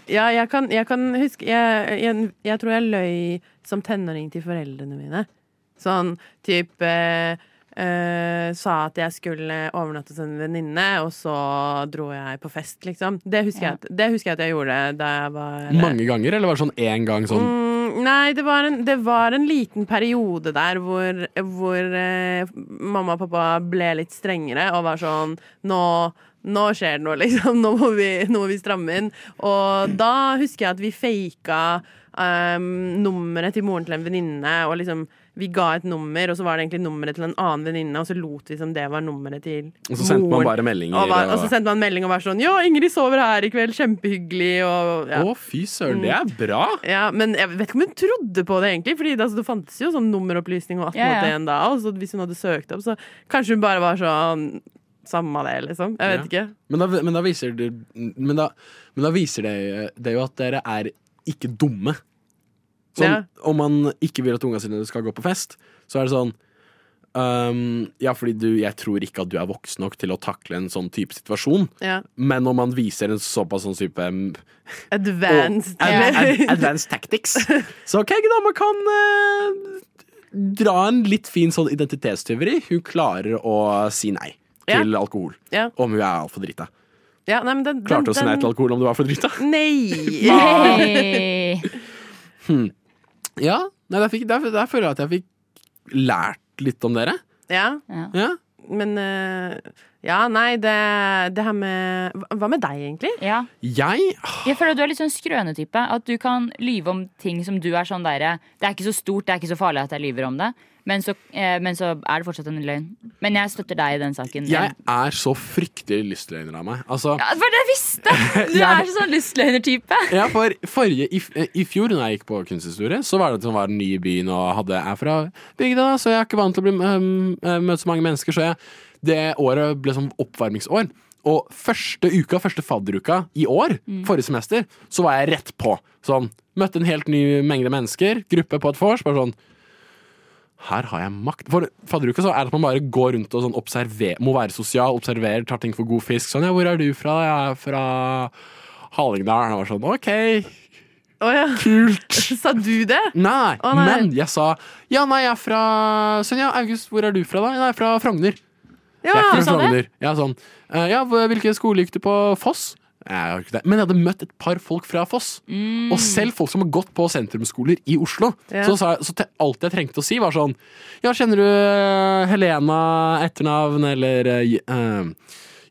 ja jeg, kan, jeg kan huske jeg, jeg, jeg tror jeg løy som tenåring til foreldrene mine. Sånn type eh, eh, Sa at jeg skulle overnatte hos en venninne, og så dro jeg på fest, liksom. Det husker,
Ja.
jeg, at- det husker jeg at jeg gjorde da jeg var
Mange ganger, eller var det sånn én gang sånn?
Mm, nei, det var, en, det var en liten periode der hvor, hvor eh, mamma og pappa ble litt strengere og var sånn Nå, nå skjer det noe, *laughs* liksom. Nå må vi, nå må vi stramme inn. Og da husker jeg at vi faka um, nummeret til moren til en venninne. Og liksom, vi ga et nummer, og så var det egentlig nummeret til en annen venninne, og så lot vi som det var nummeret til
Og så sendte man
moren.
bare meldinger,
Og, var,
og-
og så sendte man melding og var sånn Ja, Ingrid sover her i kveld. Kjempehyggelig. Og, ja.
Å, fy søren, det er bra!
Ja, men jeg vet ikke om hun trodde på det, egentlig. Fordi det, altså, det fantes jo sånn nummeropplysning og 1881
Ja, ja.
da. Og så hvis hun hadde søkt opp, så kanskje hun bare var sånn Samme det, liksom. Jeg vet ikke.
Men da, men da viser, det, men da, men da viser det, det jo at dere er ikke dumme. Sånn,
Ja.
Om man ikke vil at unga sine skal gå på fest, så er det sånn ehm, Ja, fordi du, jeg tror ikke at du er voksen nok til å takle en sånn type situasjon.
Ja.
Men om man viser en såpass sånn type mm,
Advanced.
og- ad, ad,
eller?
Advanced tactics. Så ok, da man kan eh, dra en litt fin sånn identitetstyveri. Hun klarer å si nei
Ja.
til alkohol
Ja.
om hun er altfor drita.
*laughs* ja, nei, men den, den,
Klarte å si nei til alkohol om du var for drita?
Nei!
*laughs*
Nei.
Ja, nei, der, fikk, der, der føler jeg at jeg fikk lært litt om dere.
Ja,
Ja.
men eh, Ja, nei, det, det her med hva- Hva med deg, egentlig?
Ja.
Jeg
Jeg føler at du er litt sånn skrønetype. At du kan lyve om ting som du er sånn derre Det er ikke så stort, det er ikke så farlig at jeg lyver om det. Men så, eh, men så er det fortsatt en løgn. Men jeg støtter deg i den saken.
Jeg er så fryktelig lystløgner av meg. Altså,
Ja, det var det jeg visste!
*laughs*
Du
Jeg-
er sånn lystløgnertype.
ja, for forrige, i, f- eh, I fjor da jeg gikk på kunsthistorie, så var det som var ny i byen og hadde, er fra bygda, så jeg er ikke vant til å bli, øhm, eh, møte så mange mennesker. Så jeg, det året ble som oppvarmingsår. Og første uka, første fadderuka i år, forrige semester, så var jeg rett på. Sånn, Møtte en helt ny mengde mennesker, gruppe på et vors. Bare sånn her har jeg makt. For fadderuka så er det at man bare går rundt og sånn observer, må være sosial, observerer, tar ting for god fisk. Sånn, ja, hvor er du fra? Jeg er fra Hallingdal. Og jeg var sånn, ok,
Å ja, *laughs*
kult.
sa du det?
Nei,
Å, nei.
men jeg sa, ja, nei, jeg er fra, sånn, ja, August, hvor er du fra da? Nei, jeg er fra Frogner. Jeg
Ja!
er fra
sa det?
Frogner. Jeg er sånn, «Eh, ja, hvor- hvilken skole gikk du på? Foss? Jeg har ikke det. Men jeg hadde møtt et par folk fra Foss. Og selv folk som har gått på sentrumsskoler i Oslo.
Mm. Ja.
Så, sa jeg, så te- alt jeg trengte å si, var sånn Ja, kjenner du eh, Helena etternavn, eller eh, J- eh,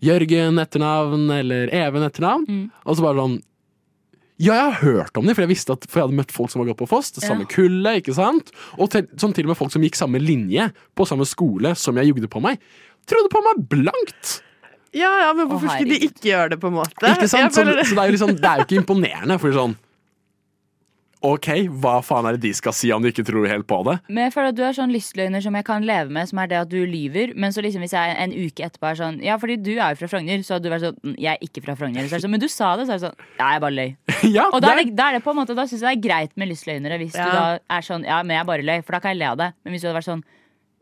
Jørgen etternavn, eller Even etternavn?
Mm.
Og så bare sånn ja, jeg har hørt om dem, for jeg visste at For jeg hadde møtt folk som har gått på Foss. Det samme kullet, ikke sant? Og til, som til og med folk som gikk samme linje på samme skole som jeg jugde på meg. Trodde på meg blankt!
Ja, ja, men hvorfor
Å,
skulle de
herregud.
ikke gjøre det, på en måte?
Ikke sant?
Jeg
Så,
føler det-
så det, er jo liksom, det er jo ikke imponerende. For sånn OK, hva faen er det de skal si om de ikke tror helt på det? *laughs*
Men jeg føler at du er sånn lystløgner som jeg kan leve med, som er det at du lyver. Men så liksom hvis jeg en uke etterpå er sånn Ja, fordi du er jo fra Frogner, så hadde du vært sånn «Mm, Jeg er ikke fra Frogner. Så er det sånn, men du sa det, så er det sånn Nei, jeg bare løy.
ja,
Og da, er
det
det, da, er det på en måte, da syns jeg det er greit med lystløgnere. Hvis
Ja.
du da er sånn Ja, men jeg bare løy, for da kan jeg le av det. Men hvis du hadde vært sånn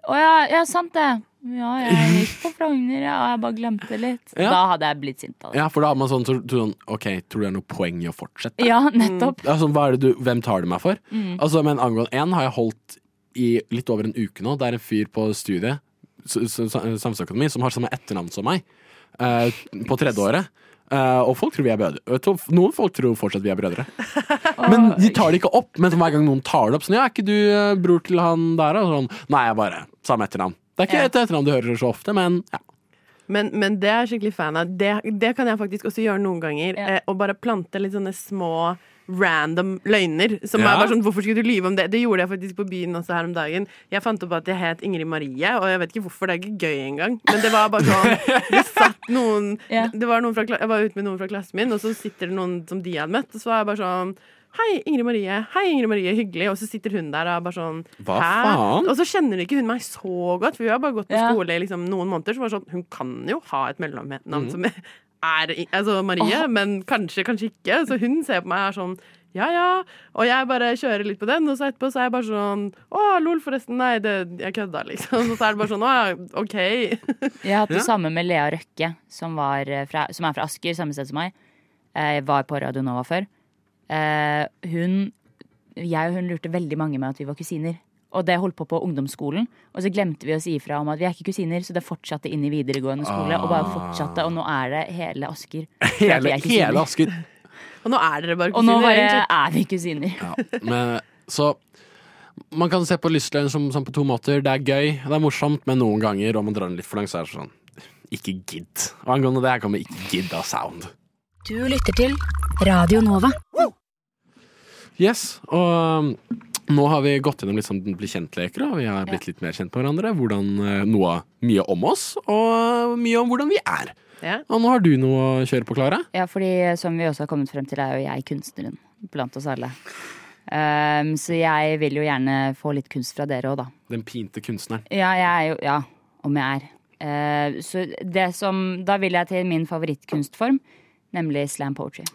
Å ja, ja, sant det. Ja, jeg gikk på Frogner, ja, og jeg bare glemte litt.
Ja.
Da hadde jeg blitt sint altså. av det.
ja, for da har man sånn, så, tror sånn OK, tror du det er noe poeng i å fortsette?
Ja, nettopp.
Altså, hva er det du, hvem tar du meg for? Altså, men angående én har jeg holdt i litt over en uke nå. Det er en fyr på studiet, s- s- sam- samfunnsøkonomi, som har samme etternavn som meg. eh, på tredje året. Eh, og folk tror vi er brødre. Jeg tror- Noen folk tror fortsatt vi er brødre. Men de tar det ikke opp. Men hver gang noen tar det opp, sånn Ja, er ikke du eh, bror til han der, da? Sånn, Nei, jeg bare Samme etternavn. Det er ikke
Ja.
et etternavn du hører så ofte, men ja.
Men, men det er jeg skikkelig fan av. Det, det kan jeg faktisk også gjøre noen ganger.
Ja.
Eh, og bare plante litt sånne små random løgner. Som
Ja.
er bare sånn, hvorfor skulle du lyve om det? Det gjorde jeg faktisk på byen også her om dagen. Jeg fant opp at jeg het Ingrid Marie, og jeg vet ikke hvorfor, det er ikke gøy engang. Men det var bare
*laughs*
sånn Det satt noen,
Ja.
det var noen fra, kla- Jeg var ute med noen fra klassen min, og så sitter det noen som de hadde møtt, og så var jeg bare sånn Hei, Ingrid Marie. Hei, Ingrid Marie. Hyggelig. Og så sitter hun der og er bare sånn
Hva
Hæ?
faen?
Og så kjenner ikke hun meg så godt, for vi har bare gått på
Ja.
skole i liksom, noen måneder. Så var det sånn, hun kan jo ha et mellomnavn som er i- altså Marie, men kanskje, kanskje ikke. Så hun ser på meg og er sånn ja, ja. Og jeg bare kjører litt på den, og så etterpå så er jeg bare sånn Å, lol, forresten. Nei, det, jeg kødda, liksom. Og så er det bare sånn Å ja, OK.
Jeg har hatt det
Ja.
samme med Lea Røkke, som, var eh, fra, som er fra Asker, samme sted som meg. Eh, var på Radio Nova før. Eh, hun, jeg og hun lurte veldig mange med at vi var kusiner. Og det holdt på på ungdomsskolen. Og så glemte vi å si ifra om at vi er ikke kusiner, så det fortsatte inn i videregående skole. Og bare fortsatte, og nå er det hele
*laughs*
Asker. tror at vi
Hele,
er kusiner.
hele Asker
Og nå er dere bare
Og nå
kusiner,
bare
egentlig.
er vi kusiner.
Ja, men, så man kan se på lystløgn som, som på to måter. Det er gøy, det er morsomt, men noen ganger om man drar den litt for langt, så er det sånn Ikke gidd Og angående det her kommer ikke gidda sound.
Du lytter til Radio Nova.
Yes, og um, nå har vi gått gjennom litt sånn bli kjent-leker, og vi har blitt litt mer kjent med hverandre. Hvordan, eh, noe mye om oss, og mye om hvordan vi er.
Ja.
Og nå har du noe å kjøre på, Klara.
Ja, fordi eh, som vi også har kommet frem til, er jo jeg kunstneren blant oss alle. Ehm, så jeg vil jo gjerne få litt kunst fra dere òg, da.
Den pinte kunstneren.
Ja, jeg er jo Ja, om jeg er. Eh, så det som Da vil jeg til min favorittkunstform, nemlig slam poetry.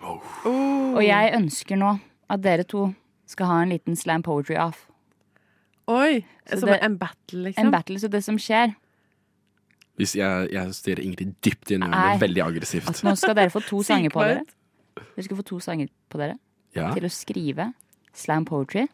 Og jeg ønsker nå at dere to skal ha en liten slam poetry off.
Oi!
Så
Som
det-
en battle, liksom?
En battle, så det som skjer
Hvis jeg, jeg stirrer Ingrid dypt inn i øynene,
Nei. Altså,
veldig aggressivt.
Nå skal dere få
*laughs*
to sanger på dere.
Sykepleier.
Dere skal få to sanger på dere
Ja.
til å skrive slam poetry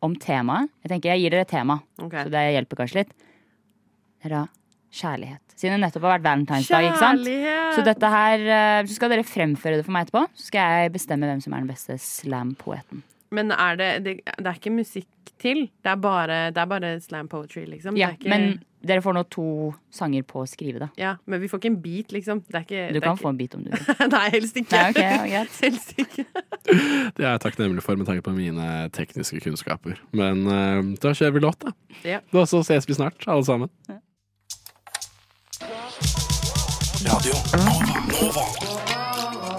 om temaet. Jeg tenker jeg gir dere et tema, så det hjelper kanskje litt. Det er da kjærlighet. Siden det nettopp har vært valentinsdag, ikke sant?
Kjærlighet!
Så dette her eh, Så skal dere fremføre det for meg etterpå. Så skal jeg bestemme hvem som er den beste slam-poeten.
Men er det, det, det er ikke musikk til? Det er bare, det er bare slam poetry, liksom?
Ja,
det er ikke,
men dere får nå to sanger på å skrive det.
ja, men vi får ikke en beat, liksom? Det er ikke,
Du
det er
kan
ikke,
få en bit om du vil.
*laughs* Nei, helst ikke.
Nei, ok, ja, greit.
*laughs* helst ikke.
Det er jeg takknemlig for med tanke på mine tekniske kunnskaper. Men eh, da kjører vi låt, da.
Ja.
Og så ses vi snart, alle sammen.
Radio Nova. Nova.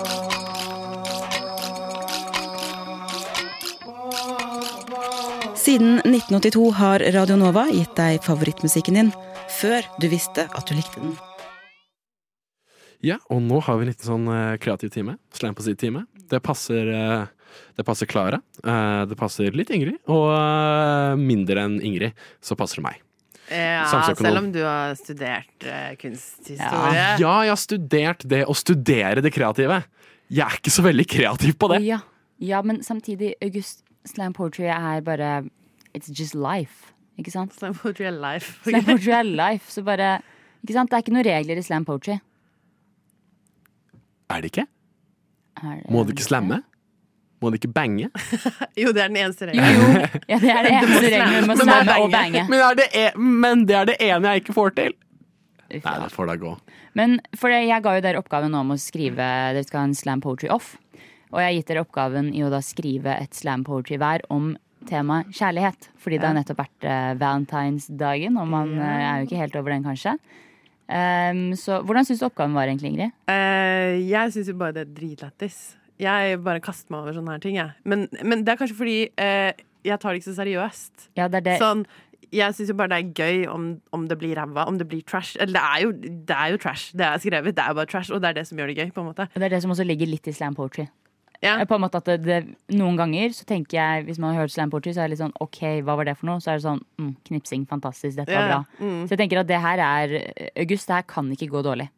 Siden 1982 har Radio Nova gitt deg favorittmusikken din før du visste at du likte den.
Ja, og nå har vi en liten sånn eh, kreativ time. Slam på sitt-time. Det passer eh, Det passer Klara. eh, det passer litt Ingrid. Og eh, mindre enn Ingrid, så passer det meg.
Ja,
Samfunnsøkonom.
selv om du har studert eh, kunsthistorie.
Ja, jeg har studert det å studere det kreative. Jeg er ikke så veldig kreativ på det.
Ja, ja men samtidig, August, slam poetry er bare It's just life, ikke sant?
Slam poetry er life.
Slam poetry er life, så bare Ikke sant? Det er ikke noen regler i slam poetry.
Er det ikke?
Er det-
Må du ikke slamme? Må du ikke bange?
*laughs* Jo, det er den eneste regelen.
Ja, det er det
Du må
eneste regelen. Du må
slamme. Du må
slamme og
bange.
bange.
*laughs* Men, er det e- men det er det ene jeg ikke får til. Nei, det får da gå.
Men for det, jeg ga jo dere oppgaven nå om å skrive Dere skal ha en slam poetry off. Og jeg har gitt dere oppgaven i å da skrive et slam poetry hver om temaet kjærlighet. Fordi det har
Ja.
nettopp vært eh, valentinsdagen, og man eh, er jo ikke helt over den, kanskje. Ehm, så hvordan syns du oppgaven var egentlig, Ingrid?
Eh, jeg syns jo bare det er dritlættis. Jeg bare kaster meg over sånne her ting, jeg. Men, men det er kanskje fordi eh, jeg tar det ikke så seriøst.
Ja, det er det.
Sånn, jeg syns jo bare det er gøy om, om det blir ræva, om det blir trash. Eller det er jo, det er jo trash. Det er skrevet, det er bare trash, og det er det som gjør det gøy, på en måte.
Og Det er det som også ligger litt i slam poetry. Eh, På en måte at det, det, Noen ganger så tenker jeg, hvis man har hørt slam poetry, så er det litt sånn OK, hva var det for noe? Så er det sånn mm, knipsing, fantastisk, dette var
Ja,
bra.
mm.
Så jeg tenker at det her er August, det her kan ikke gå dårlig.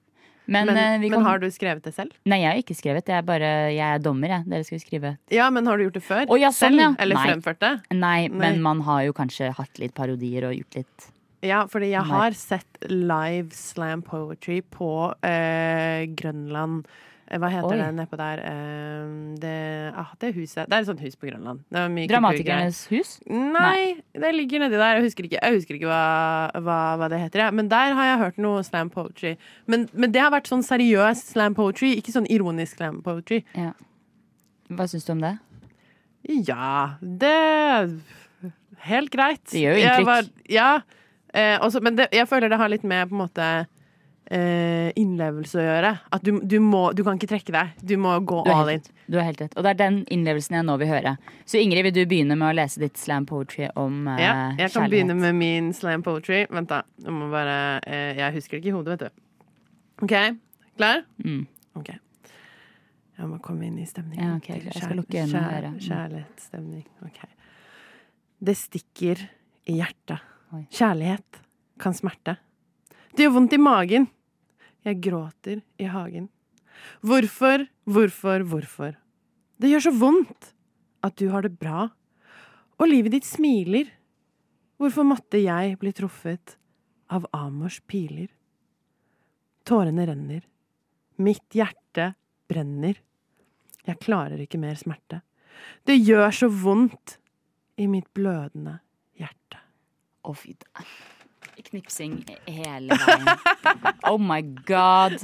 Men,
Men,
eh, vi
men
kan-
har du skrevet det selv?
Nei, jeg har ikke skrevet. Jeg er bare jeg er dommer, jeg. Dere skal jo skrive.
Ja, men har du gjort det før?
Å, ja, sånn,
selv?
ja.
Eller
Nei.
fremført det?
Nei,
Nei.
men man har jo kanskje hatt litt parodier og gjort litt
Ja, fordi jeg
Nei.
har sett live slam poetry på eh, Grønland. Eh, Hva heter
Oi.
det nedpå der? Eh, det, ah, det huset. Det er et sånt hus på Grønland. Det er mye
Dramatikernes hus?
kulturgreier. Nei, det ligger nedi der. Jeg husker ikke, jeg husker ikke hva, hva, hva det heter. jeg. Men der har jeg hørt noe slam poetry. Men, men det har vært sånn seriøs slam poetry, ikke sånn ironisk slam poetry.
Ja. Hva syns du om det?
Ja, det Helt greit.
Det gjør jo
Jeg
inntrykk.
var, ja. Eh, også, men det, jeg føler det har litt med på en måte eh, innlevelse å gjøre. At du, du må Du kan ikke trekke deg. Du må gå
Du har
all in.
helt, rett. du har helt rett. Og det er den innlevelsen jeg nå vil høre. Så Ingrid, vil du begynne med å lese ditt slam poetry om eh,
Ja, jeg kan
kjærlighet?
begynne med min slam poetry. Vent, da. Jeg må bare eh, Jeg husker det ikke i hodet, vet du. OK, klar?
Mm.
OK. Jeg må komme inn i stemningen.
Ja, ok,
til
jeg
kjær-
skal lukke øynene Mm. og høre.
kjær- Kjærlighetsstemning. OK. Det stikker i hjertet.
Oi.
Kjærlighet kan smerte. Det gjør vondt i magen. Jeg gråter i hagen. Hvorfor, hvorfor, hvorfor? Det gjør så vondt at du har det bra, og livet ditt smiler. Hvorfor måtte jeg bli truffet av Amors piler? Tårene renner. Mitt hjerte brenner. Jeg klarer ikke mer smerte. Det gjør så vondt i mitt blødende hjerte.
Å, fy da. *laughs* knipsing hele veien. Oh my god.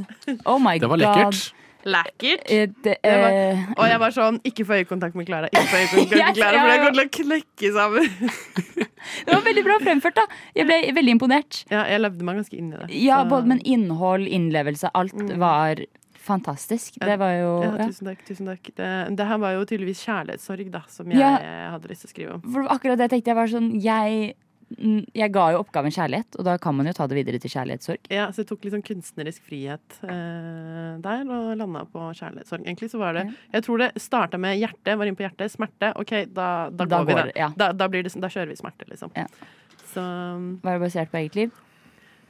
Oh my god. Eh,
Det var lekkert.
Lækkert.
Det,
Jeg var,
eh,
og jeg var sånn Ikke få øyekontakt med Klara. Ikke få
*laughs*
øyekontakt med
Jeg-
Klara, for
jeg-
jeg kommer til å knekke sammen.
det var veldig bra fremført, da. Jeg ble veldig imponert.
Ja, jeg levde meg ganske inn i det.
Ja,
Så- Mm.
både, Men innhold, innlevelse, alt var fantastisk. Det var jo
ja,
ja.
Tusen takk. tusen takk Det, det her var jo tydeligvis kjærlighetssorg, da, som jeg
Ja.
eh, hadde lyst til å skrive om.
For det var akkurat det jeg tenkte jeg var sånn jeg, mm, jeg ga jo oppgaven kjærlighet, og da kan man jo ta det videre til kjærlighetssorg.
Ja, så jeg tok litt sånn kunstnerisk frihet eh, der, og landa på kjærlighetssorg. Egentlig så var det Jeg tror det starta med hjertet, var inne på hjertet. Smerte. OK, da, da,
Da
går vi,
går
da.
det, ja.
Da, da, blir det, sånn- da kjører vi smerte, liksom. Så
Var det basert på eget liv?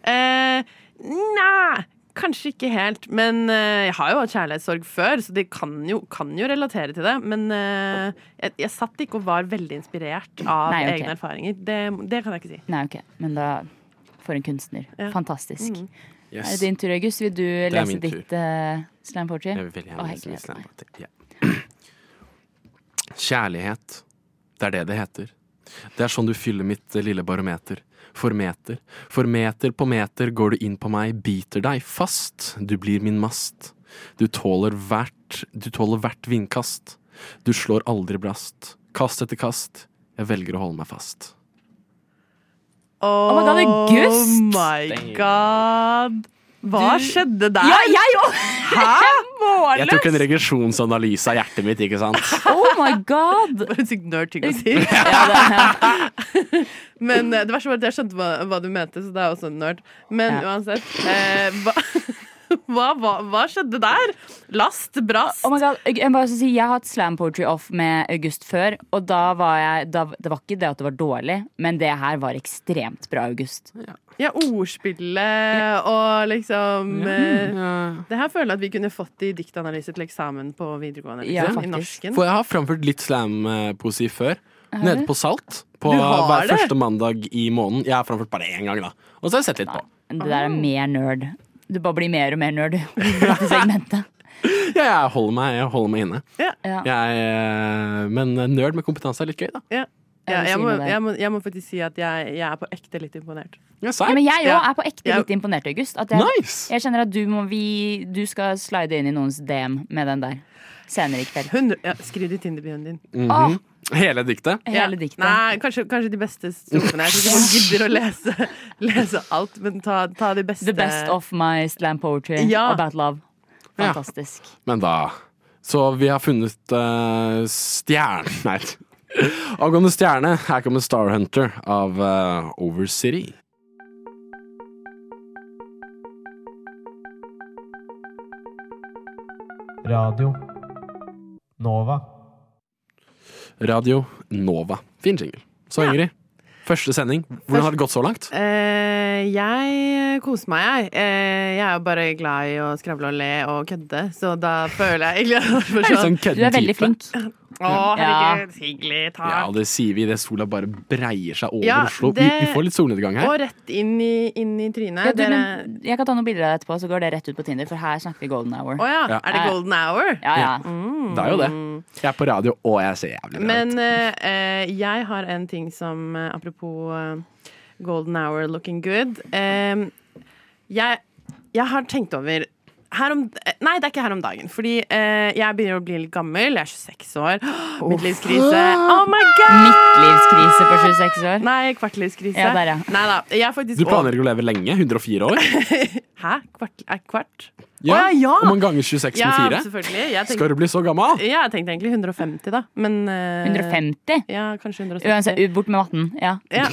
eh, Nei, kanskje ikke helt. Men eh, jeg har jo hatt kjærlighetssorg før, så det kan jo, kan jo relatere til det. Men eh, jeg, jeg satt ikke og var veldig inspirert av
Nei, ok.
egne erfaringer. Det, det kan jeg ikke si.
Nei, ok. Men da For en kunstner.
Ja.
Fantastisk.
Mm.
Yes.
Er det din tur, August? Vil du
er
lese
min tur.
ditt uh, slam poetry?
Jeg vil veldig
Å,
gjerne
jeg
lese
gleder
Miss
meg.
Lambert. Ja. Kjærlighet. Det er det det heter. Det er sånn du fyller mitt eh, lille barometer. For meter, for meter på meter går du inn på meg, biter deg fast, du blir min mast. Du tåler hvert, du tåler hvert vindkast. Du slår aldri blast. Kast etter kast, jeg velger å holde meg fast.
Oh
my god, August!
my god. Hva skjedde der?
Ja, *laughs*
*laughs*
jeg òg!
Jeg tok en regresjonsanalyse av hjertet mitt, ikke sant?
Oh my god!
Bare en sykt nerd ting å *laughs* si. Men eh, det verste var at jeg skjønte hva, hva du mente, så det er også en nerd. Men
Ja.
uansett eh, hva, *laughs* hva, hva, hva skjedde der? Last, brast.
Oh my god, jeg, jeg, må også si, jeg har hatt slam poetry off med August før, og da var jeg da, Det var ikke det at det var dårlig, men det her var ekstremt bra, August.
Ja, ordspillet og liksom eh, Det her føler jeg at vi kunne fått i diktanalyse til eksamen på videregående.
Ja,
Liksom, I
faktisk.
norsken.
For jeg har framført litt slampoesi før.
Har
Nede
du?
på Salt. På
Du har
hver
det?
første mandag i måneden. Jeg har framført bare én gang, da. Og så har jeg sett litt på.
Det
Ah.
der er mer nerd. Du bare blir mer og mer nerd. *laughs* Dette segmentet.
Ja, jeg holder meg, jeg holder meg inne.
Ja.
Ja.
Jeg, eh, men nerd med kompetanse er litt gøy, da.
Ja.
Jeg
Ja,
vil
jeg,
si
må,
noe der.
jeg, må, jeg må faktisk si at jeg, jeg er på ekte litt imponert.
Ja, men jeg òg er på ekte
Ja.
litt imponert, August. At jeg,
Nice!
jeg kjenner at du, må, vi, du skal slide inn i noens DM med den der senere i kveld.
Hundre- ja, skriv det i Tinder-bioen din.
Mhm. Hele diktet?
Hele
Ja.
diktet.
Nei, kanskje, kanskje de beste strofene. Jeg tror ikke man gidder å lese, *laughs* lese alt, men ta, ta de beste.
The best of my slam poetry
Ja.
about love.
Ja.
Fantastisk.
Men da Så vi har funnet uh, stjerne... *laughs* Nei. Avgående stjerne. Her kommer Starhunter av eh, Overcity.
Radio Nova.
Radio Nova. Fin jingle. Så Ingrid, første sending. Hvordan har det gått så langt?
Eh, jeg koser meg, jeg. Eh, jeg er jo bare glad i å skravle og le og kødde, så da føler jeg egentlig
Er litt sånn kødden Du er veldig type. flink.
sånn-
Å, herregud, hyggelig. Takk.
Ja, det sier vi. Det sola bare breier seg over
Ja,
Oslo. Vi,
det-
vi får litt solnedgang her.
Og rett inn i, inn i trynet.
Ja, du,
Dere...
men jeg kan ta noen bilder av deg etterpå, så går det rett ut på Tinder. For her snakker vi golden hour.
Å ja. Er det golden hour?
Ja, ja.
Mm.
Det er jo det. Jeg er på radio, og jeg ser jævlig bra ut.
Men eh, eh, jeg har en ting som eh, Apropos eh, golden hour looking good. Eh, jeg, jeg har tenkt over her om, eh, Nei, det er ikke her om dagen. Fordi eh, jeg begynner å bli litt gammel. Jeg er 26 år. Midtlivskrise. Oh my god!
Midtlivskrise på 26 år?
Nei, kvartlivskrise.
Ja, der, ja.
Nei da. Jeg er faktisk
Du planlegger å leve lenge? 104 år?
Hæ? Kvart? Er kvart?
Ja,
Å, ja, ja.
Om man ganger 26
Ja,
med 4?
selvfølgelig. Jeg tenker-
Skal du bli så gammel?
Ja, jeg tenkte egentlig 150, da. Men eh,
150?
Ja, kanskje 170.
Uansett, u- bort med matten. Ja.
Ja.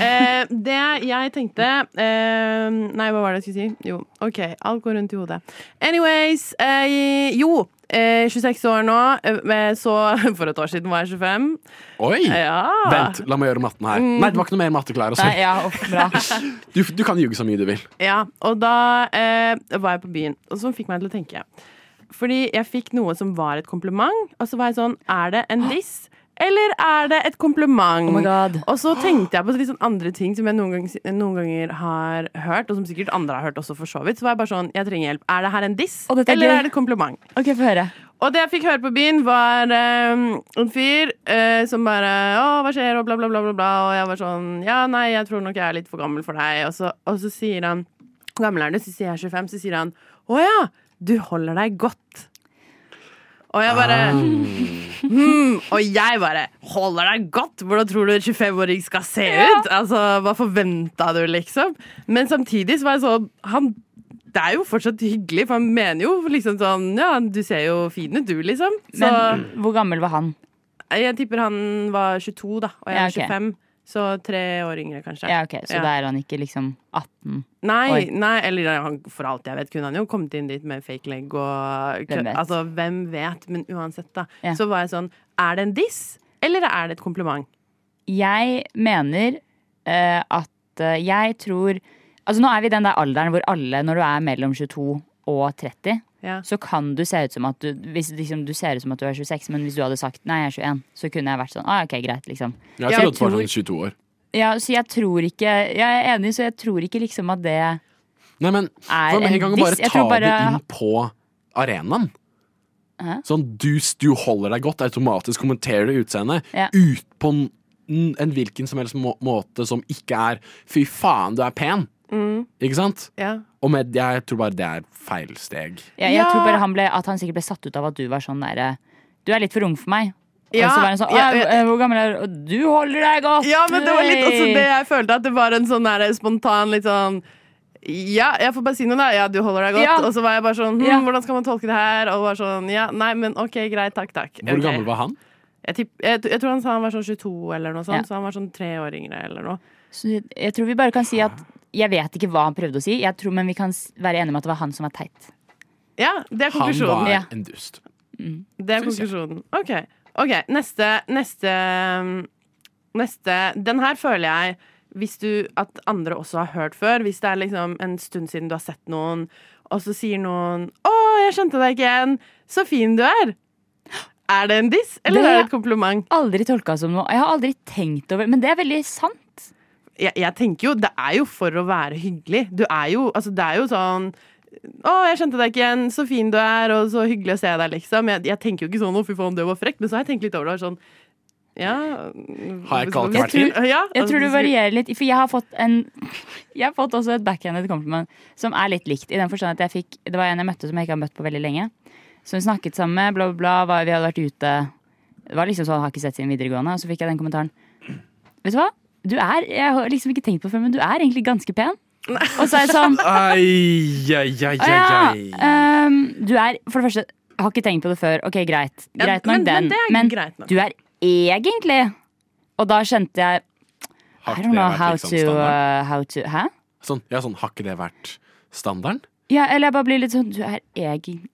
Eh, det jeg tenkte eh, Nei, hva var det jeg skulle si? Jo, OK. Alt går rundt i hodet. Anyways. Eh, jo. Eh, 26 år nå. Eh, så *laughs* for et år siden var jeg 25.
Oi!
Ja.
Vent, la meg gjøre matten her.
Mm.
Nei, det var ikke noe mer matte, Klara.
Nei,
Sorry.
ja, uff, *laughs* bra.
Du, du kan ljuge så mye du vil.
Ja, og da eh, var jeg på byen, og så fikk meg til å tenke. Fordi jeg fikk noe som var et kompliment, og så var jeg sånn Er det en diss? Eller er det et kompliment?
Oh my God.
Og så tenkte jeg på litt sånn andre ting som jeg noen ganger, noen ganger har hørt, og som sikkert andre har hørt også, for så vidt. Så var jeg bare sånn Jeg trenger hjelp. Er det her en diss?
dette er
eller
gøy.
er det et kompliment?
Ok, få høre.
Og det jeg fikk høre på byen, var eh, en fyr eh, som bare Å, hva skjer? Og bla, bla, bla, bla, bla. Og jeg var sånn Ja, nei, jeg tror nok jeg er litt for gammel for deg. Og så, og så sier han Hvor gammel er du? Så sier jeg 25. Så sier han Å ja, du holder deg godt. Og jeg bare *laughs* hmm, Og jeg bare Holder deg godt? Hvordan tror du en 25-åring skal se ut? Altså, Hva forventa du, liksom? Men samtidig så var jeg sånn Han det er jo fortsatt hyggelig, for han mener jo liksom sånn Ja, du ser jo fin ut, du, liksom. Så
Men hvor gammel var han?
jeg tipper han var 22, da, og jeg
Ja,
er
ok.
25. Så tre år yngre, kanskje.
Ja, ok, Så
Ja.
da er han ikke liksom 18?
Nei,
Oi.
nei, eller han, for alt jeg vet kunne han jo kommet inn dit med fake leg og
Hvem vet?
Altså, hvem vet, men uansett, da. Så var jeg sånn Er det en diss, eller er det et kompliment?
Jeg mener eh, at eh, jeg tror Altså Nå er vi i den der alderen hvor alle, når du er mellom 22 og 30, så kan du se ut som at du hvis, liksom, Du ser ut som at du er 26, men hvis du hadde sagt nei, jeg er 21, så kunne jeg vært sånn. Ah, ok, greit, liksom.
Jeg har trodd på sånn 22 år.
ja, så jeg tror ikke Jeg er enig, så jeg tror ikke liksom at det
Nei, men
Er
hva med
en
en gang å
diss?
bare
Jeg
ta
tror bare-
det inn på arenaen?
Hæ?
Sånn du, du holder deg godt, automatisk kommenterer du utseendet
Ja.
ut på en, en hvilken som helst må, måte som ikke er 'fy faen, du er pen',
Mm.
ikke sant?
Ja.
Og med, jeg tror bare det er feil steg.
Jeg, jeg tror bare han ble, at han sikkert ble satt ut av at du var sånn derre Du er litt for ung for meg.
Ja,
og så var han sånn
ja,
«Å,
ja.
Hvor gammel er du? Og Du holder deg godt!
Ja, men det var litt også
Hey!»
det jeg følte, at det var en sånn der, spontan litt sånn ja, jeg får bare si noe, da. Ja, du holder deg godt.
Ja.
Og så var jeg bare sånn hm,
Ja.
Hvordan skal man tolke det her? Og bare sånn, ja, nei, men OK, greit, takk, takk.
Hvor
Ok.
gammel var han?
Jeg, tipp, jeg, t- jeg tror han sa han var sånn 22 eller noe sånt,
Ja.
så han var sånn tre år yngre eller noe.
Så jeg- jeg tror vi bare kan si at jeg vet ikke hva han prøvde å si, jeg tror, men vi kan s- være enige om at det var han som var teit.
Ja, det er
Han
konklusjonen.
var
Ja.
en dust.
Det er
Synes jeg.
konklusjonen. OK. ok, Neste, neste um, Neste Den her føler jeg hvis du, at andre også har hørt før. Hvis det er liksom en stund siden du har sett noen, og så sier noen 'Å, jeg skjønte deg ikke igjen. Så fin du er.' Er det en diss, eller
Det
er
har
det et kompliment?
Aldri tolka som noe. Jeg har aldri tenkt over Men det er veldig sant.
Jeg, jeg tenker jo, det er jo for å være hyggelig. Du er jo Altså, det er jo sånn 'Å, jeg skjønte deg ikke igjen. Så fin du er, og så hyggelig å se deg', liksom. Jeg, jeg tenker jo ikke sånn 'Å, fy faen, det var frekt', men så har jeg tenkt litt over det. og Sånn, ja
Har jeg ikke alltid
Jeg
vært fin?
tror,
Ja,
jeg tror det
altså, du skulle-
varierer litt. For jeg har fått en Jeg har fått også et backhanded compliment som er litt likt. I den forstand at jeg fikk Det var en jeg møtte som jeg ikke har møtt på veldig lenge. Som vi snakket sammen med, bla, bla, bla. var- Vi hadde vært ute. Det var liksom sånn, har ikke sett siden videregående. Og så fikk jeg den kommentaren. Vet du hva? Du er, jeg har liksom ikke tenkt på det før, men du er egentlig ganske pen. Og så er jeg sånn
Ai, ai, ai,
Å
ai, ai.
ja. ehm, du er, for det første, jeg har ikke tenkt på det før. Ok, greit.
Ja,
Greit nok
men- men
den.
det er
Men
greit nok.
du er egentlig Og da skjønte jeg
Har
I
ikke det
don't know
vært
how
liksom
to,
standarden?
uh, how to Hæ?
Sånn, ja, sånn, har ikke det vært standarden?
Ja, eller jeg bare blir litt sånn Du er egen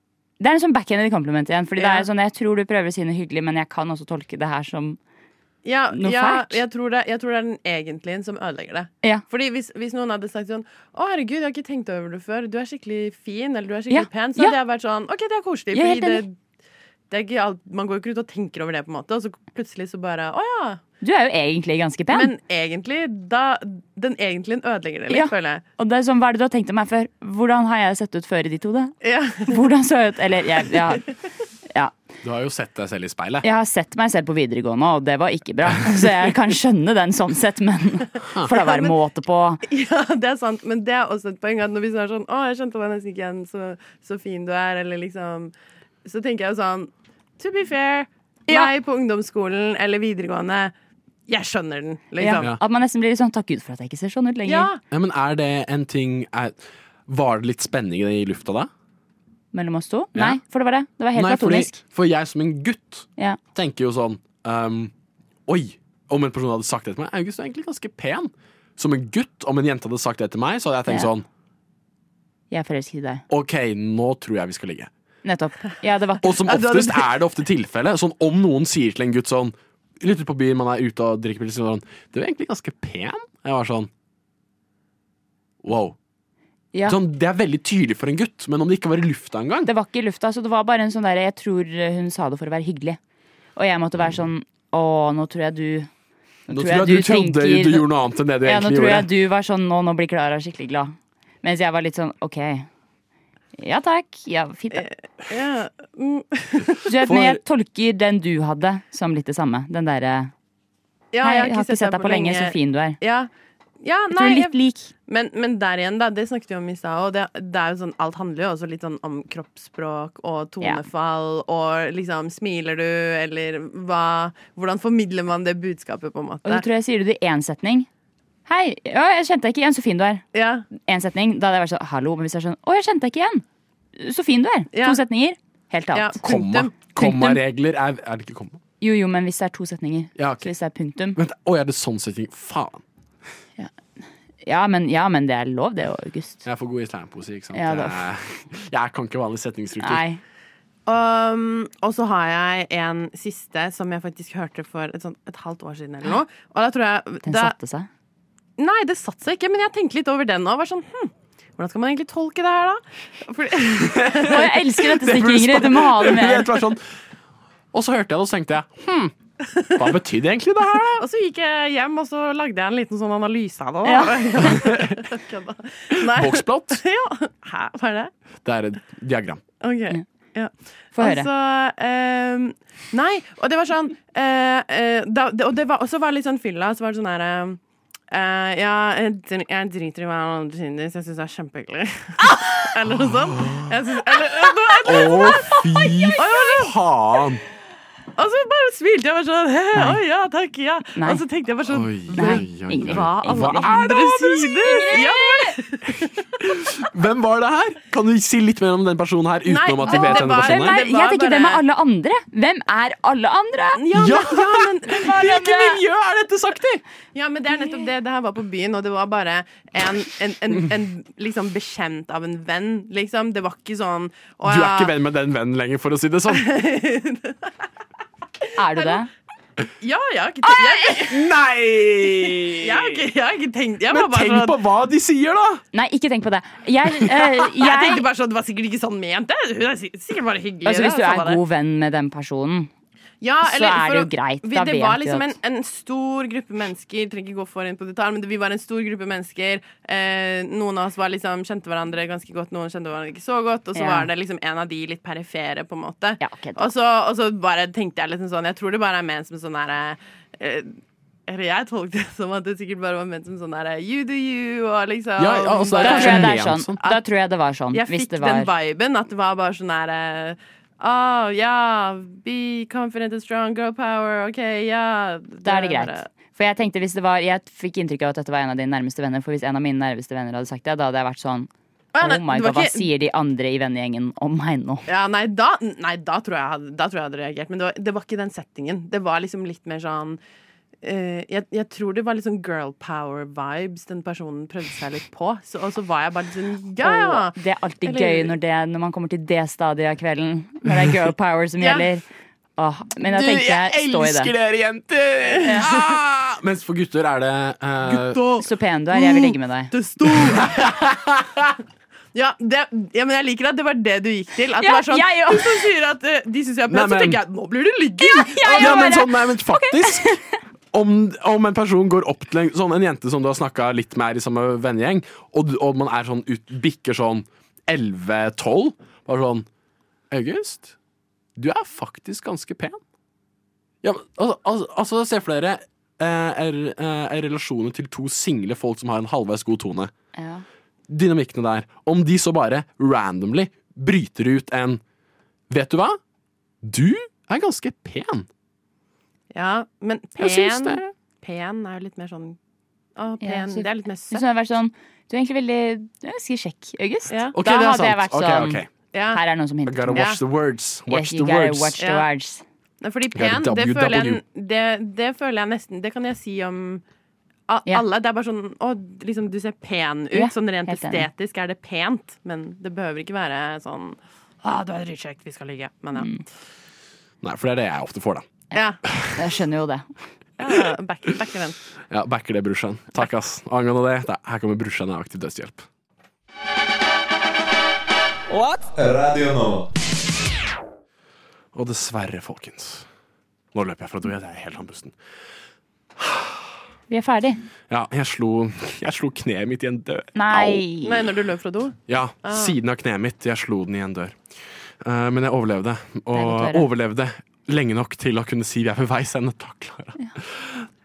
Det er en sånn backhanded kompliment igjen. Fordi det
Ja.
er sånn, jeg tror du prøver å si noe hyggelig, men jeg kan også tolke det her som
ja,
noe
ja,
fælt.
Jeg tror, det, jeg tror det er den egentlige som ødelegger det.
Ja.
Fordi hvis, hvis noen hadde sagt sånn 'Å, herregud, jeg har ikke tenkt over det før. Du er skikkelig fin', eller 'du er
Ja,
skikkelig pen', så
ja.
hadde jeg vært sånn 'OK, det er koselig',
Jeg er
fordi
helt
det, det er ikke alt Man går jo ikke ut og tenker over det, på en måte, og så plutselig så bare 'Å ja'.
Du er jo egentlig ganske pen.
Men egentlig, da Den egentlige ødelegger det litt,
Ja.
føler jeg.
og det er sånn, Hva er det du har tenkt om meg før? Hvordan har jeg sett ut før i ditt hode?
*laughs* Ja.
Hvordan så jeg ut? Eller jeg, ja.
Du har jo sett deg selv i speilet.
jeg har sett meg selv på videregående, og det var ikke bra. Så jeg kan skjønne den sånn
*laughs*
sett, men For det var en måte på.
Ja, det er sant, men det er også et poeng at når vi sier sånn 'Å, jeg skjønte deg nesten ikke igjen, så, så fin du er', eller liksom Så tenker jeg jo sånn To be fair, meg på ungdomsskolen eller videregående, jeg skjønner den, liksom.
Ja, at man nesten blir litt sånn takk gud for at jeg ikke ser sånn ut lenger.
Ja.
Ja, men er det en ting er, Var det litt spenning i lufta da?
Mellom oss to?
Ja.
Nei, for det var det. Det var helt
Nei, fordi,
platonisk.
for jeg som en gutt
Ja.
tenker jo sånn ehm, Oi! Om en person hadde sagt det til meg August du er egentlig ganske pen. Som en gutt, om en jente hadde sagt det til meg, så hadde jeg tenkt
Ja.
sånn
Jeg er forelsket i deg.
OK, nå tror jeg vi skal ligge.
Nettopp. Ja, det var
Og som oftest er det ofte tilfellet. Sånn om noen sier til en gutt sånn Litt ute på byen, man er ute og drikker pils, og sånn Du er egentlig ganske pen. Jeg var sånn Wow.
Ja.
Sånn, det er veldig tydelig for en gutt, men om det ikke var i lufta engang
Det var ikke i lufta, så det var bare en sånn derre Jeg tror hun sa det for å være hyggelig. Og jeg måtte være sånn Å, nå tror jeg du
Nå tror jeg du trodde
tenker-
du gjorde noe annet enn det du
Ja, nå
egentlig
tror
gjorde.
jeg du var sånn Nå, nå blir Klara skikkelig glad. Mens jeg var litt sånn OK. Ja takk. Eh, Ja, fint, da.
Ja. mm.
Du vet, men jeg tolker den du hadde, som litt det samme. Den derre
Ja,
Hei, jeg har ikke sett deg på lenge, så fin du er.
Ja, ja
Jeg tror
nei,
litt lik.
Men, men der igjen, da, det snakket vi om i stad. Og det, det er jo sånn, alt handler jo også litt sånn om kroppsspråk og tonefall og liksom Smiler du, eller hva Hvordan formidler man det budskapet, på en måte?
Og så tror jeg sier du det i én setning. Hei, ja, jeg kjente deg ikke igjen, så fin du er. En setning, da hadde jeg vært sånn hallo. Men hvis jeg er sånn å, jeg kjente deg ikke igjen, så fin du er. To setninger, helt annet.
Komma. Kommaregler er, er det ikke komma?
Jo, jo, men hvis det er to setninger.
Ja, ok.
Så hvis det er punktum.
Vent, Å, er det sånn setting? Faen.
Ja men, ja, men det er lov, det, August.
Jeg er for god i slampoesi, ikke sant?
Ja, da.
jeg, *laughs* jeg kan ikke vanlig setningsstruktur. *laughs*
Um, og så har jeg en siste som jeg faktisk hørte for et, sånt, et halvt år siden eller noe. Og da tror jeg
Den
da,
satte seg.
Nei, det satte seg ikke, men jeg tenkte litt over den òg. Sånn, hm, hvordan skal man egentlig tolke det her, da? Fordi,
*laughs* Å, jeg elsker dette
Det burde
stikket, Ingrid. Du må ha det
Det
med.
var sånn. Og så hørte jeg det, og så tenkte jeg hm, hva betydde egentlig det
*laughs*
her?
og så gikk jeg hjem, og så lagde jeg en liten sånn analyse av det. *laughs*
Ja.
Kødda. Nei.
Boksplott?
*laughs* ja. Hæ, hva er det?
Det er et diagram.
Ok, ja.
Få høre.
Altså, ehm, nei, og det var sånn eh, eh, da, det, Og det var også var det litt sånn fylla, så var det sånn her eh, ja, jeg dr- jeg driter i hva alle andre synes. Jeg syns det er kjempehyggelig. *laughs* eller noe sånt. Jeg synes, eller, eller,
Å,
eller,
fy faen!
og så bare smilte jeg bare sånn. *laughs* He,
Nei.
oi, ja, takk, ja.
Nei.
Og så tenkte jeg bare sånn
Ingrid.
Hva alle
Hva er det
andre synes? Ja,
Hvem var det her? Kan du si litt mer om den personen her, utenom at vi vet denne
hvem
personen
er,
her?
jeg tenker, hvem er alle andre? Hvem er alle andre?
Ja, men, ja, men
Hvilket miljø
er dette sagt i? Ja, men det er nettopp det. Det her var på byen, og det var bare en, en, en, en liksom bekjent av en venn, liksom. Det var ikke sånn å,
Du er ikke
ja.
venn med den vennen lenger, for å si det sånn.
*laughs*
Er du det?
Ja, jeg har ikke tenkt jeg-
Nei!
Jeg har ikke, jeg har ikke tenkt jeg
Men
var bare
tenk
sånn-
på hva de sier, da!
Nei, ikke tenk på det. Jeg,
*laughs*
eh, jeg,
jeg tenkte bare sånn, Det var sikkert ikke sånn ment. Det er sikkert bare hyggelig.
altså, hvis du
det
er
samme det.
god venn med den personen,
Ja,
så
eller
er det
for
jo
å-
greit.
Vi,
Da
det
vet
var
du
liksom en,
at
en stor gruppe mennesker. Trenger ikke gå for inn på detalj, men det, vi var en stor gruppe mennesker. Eh, noen av oss var liksom, kjente hverandre ganske godt, noen kjente hverandre ikke så godt. Og så
Ja.
var det liksom en av de litt perifere, på en måte. og, så, og så bare tenkte jeg liksom sånn Jeg tror det bare er ment som sånn herre eh, eller jeg tolket det som at det sikkert bare var ment som sånn der You do you, og liksom
Ja, ja, altså, det er
da
kanskje
tror, jeg det er
ment
sånn. da tror jeg det var sånn.
jeg
Hvis
fikk
det var
den viben at det var bare sånn her eh, Oh, ja, be confident and strong, girl power, OK, ja.
Da er det greit. For jeg tenkte hvis det var Jeg fikk inntrykk av at dette var en av dine nærmeste venner. For hvis en av mine nærmeste venner hadde sagt det, da hadde jeg vært sånn
Å, ja,
Oh
nei,
my
det var
god, hva
ikke-
sier de andre i vennegjengen om meg nå?
Ja, nei, da, nei da, tror jeg, jeg hadde- da tror jeg jeg hadde reagert. Men det var, det var ikke den settingen. Det var liksom litt mer sånn eh, jeg, jeg tror det var litt sånn girl power-vibes den personen prøvde seg litt på. Så, og så var jeg bare litt sånn ja, ja.
Og det er alltid
Eller-
gøy når, det, når man kommer til det stadiet av kvelden. Når det er girl power som
*laughs* Ja.
gjelder. Åh, men da tenker jeg, stå i det.
dere, jenter! Ah! Mens for gutter er det eh,
Så pen du er, jeg vil ligge
*laughs*
med deg.
Ja, det, ja, men jeg liker at det var det du gikk til. At det
Ja,
var sånn,
jeg òg.
De som sier at eh, de syns jeg er pen,
Nei,
så
men-
tenker jeg nå blir du lygging! Og-
ja, men sånn, nei, men faktisk om, om en person går opp til en, sånn, en jente som du har snakka litt med her i samme vennegjeng, og, du- og man er sånn ut, bikker sånn 11-12, bare sånn August, du er faktisk ganske pen. Ja, men, altså, altså, altså se for dere eh, er, eh, er relasjoner til to single folk som har en halvveis god tone.
Ja.
Dynamikkene der. Om de så bare randomly bryter ut en Vet du hva? Du er ganske pen.
Ja, men
Jeg syns
pen,
det.
pen er jo litt mer sånn å, pen,
Ja, så-
Det er litt mer
Hvis hun
søtt.
hadde vært sånn Du er egentlig veldig Du er ganske kjekk, August.
Ok,
da
det er
hadde jeg
sant.
vært
Ok,
sånn
ok.
Her er det noen som
I
hinter.
gotta
til meg."
watch the words. Watch
Yes,
the
you gotta
words.
watch the
Ah. Ja.
words.
Nei, Fordi
Jeg er E.
pen, det
WW.
føler, jeg, det, det føler jeg nesten Det kan jeg si om a- alle. Det er bare sånn Å, liksom, du ser pen ut.
Ja,
sånn rent
helt enig.
estetisk er det pent, men det behøver ikke være sånn Å, du er dritkjekk, vi skal ligge. Men ja.
Mm.
Nei, for det er det jeg ofte får, da.
ja.
Jeg skjønner jo det.
ja back, back event.
Ja, Backer det, brorsan. Takk, ass. Angående det, da, her kommer brorsan av aktiv dødshjelp.
What? Radio Nova.
Og dessverre, folkens Nå løper jeg fra do, jeg er helt andpusten.
Vi er ferdig.
Ja, jeg slo, *laughs* jeg slo kneet mitt i en dør.
Nei.
Nei, når du løp fra do?
Ja,
Ah.
siden av kneet mitt. Jeg slo den i en dør. Eh, men jeg overlevde.
godt å
Og
høre.
overlevde lenge nok til å kunne si vi er ved veis ende. Takk, Klara.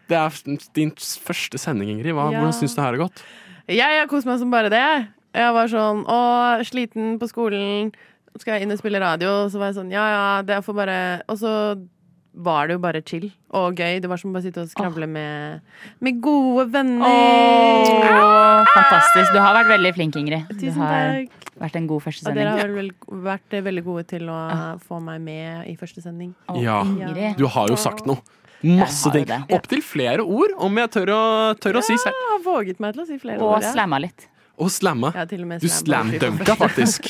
Det er f- din første sending, Ingrid. Hva,
Ja.
Hvordan syns du det her har gått?
Jeg har kost meg som bare det. jeg. Jeg var sånn å, sliten på skolen, skal jeg inn og spille radio? Så var jeg sånn ja ja, det får bare Og så var det jo bare chill og gøy. Det var som å bare sitte og skravle med, med gode venner.
Åh, fantastisk. Du har vært veldig flink, Ingrid. Du
Tusen
har
takk.
vært en god første
Og dere har
sending.
vel, vel, vært eh, veldig gode til å eh, få meg med i første sending.
Ja. Du har jo sagt noe. Masse ting. Opptil flere ord, om jeg tør å, tør å si selv.
Jeg har våget meg til å si flere
Og
ord. ja.
slamma litt.
Og slamma.
Ja, til og med
Du
slam poetry. *laughs*
slamdunka faktisk.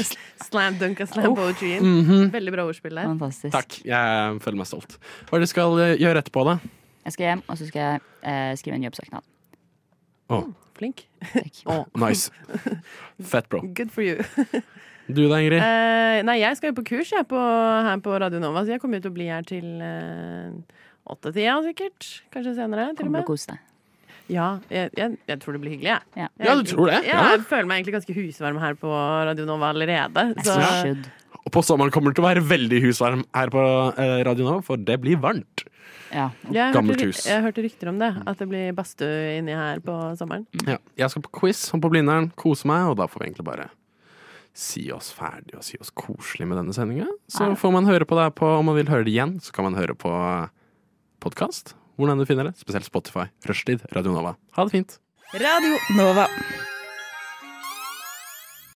slam dunka slam
Uff. Mm.
poetry.
Mhm.
Veldig bra ordspill der.
Takk. Jeg føler meg stolt. Hva er det du skal eh, gjøre etterpå, da?
Jeg skal hjem, og så skal jeg eh, skrive en jobbsøknad.
Å,
Flink. Å.
nice. Fett, bro.
Good for you.
Du da, Ingrid?
Eh, nei, jeg skal jo på kurs jeg, på, her på Radio Nova, så jeg kommer jo til å bli her til eh, åtte-tida sikkert. Kanskje senere, til og
Kommer
med.
til å kose deg.
Ja, jeg, jeg, jeg tror det blir hyggelig, jeg.
Ja.
Ja, du tror det?
Ja,
Ja.
jeg føler meg egentlig ganske husvarm her på Radio Nova allerede. Så
Ja. Og på sommeren kommer det til å være veldig husvarm her på eh, Radio Nova, for det blir varmt.
jeg,
Gammelt
hørte,
hus.
jeg hørte rykter om det, at det blir badstue inni her på sommeren.
Ja. Jeg skal på quiz og på Blindern, kose meg, og da får vi egentlig bare si oss ferdig og si oss koselig med denne sendinga. Så
Ja.
får man høre på det her på, om man vil høre det igjen, så kan man høre på podkast. Hvordan du finner det, spesielt Spotify, Rushtid, Radio Nova. Ha det fint.
Radio Nova.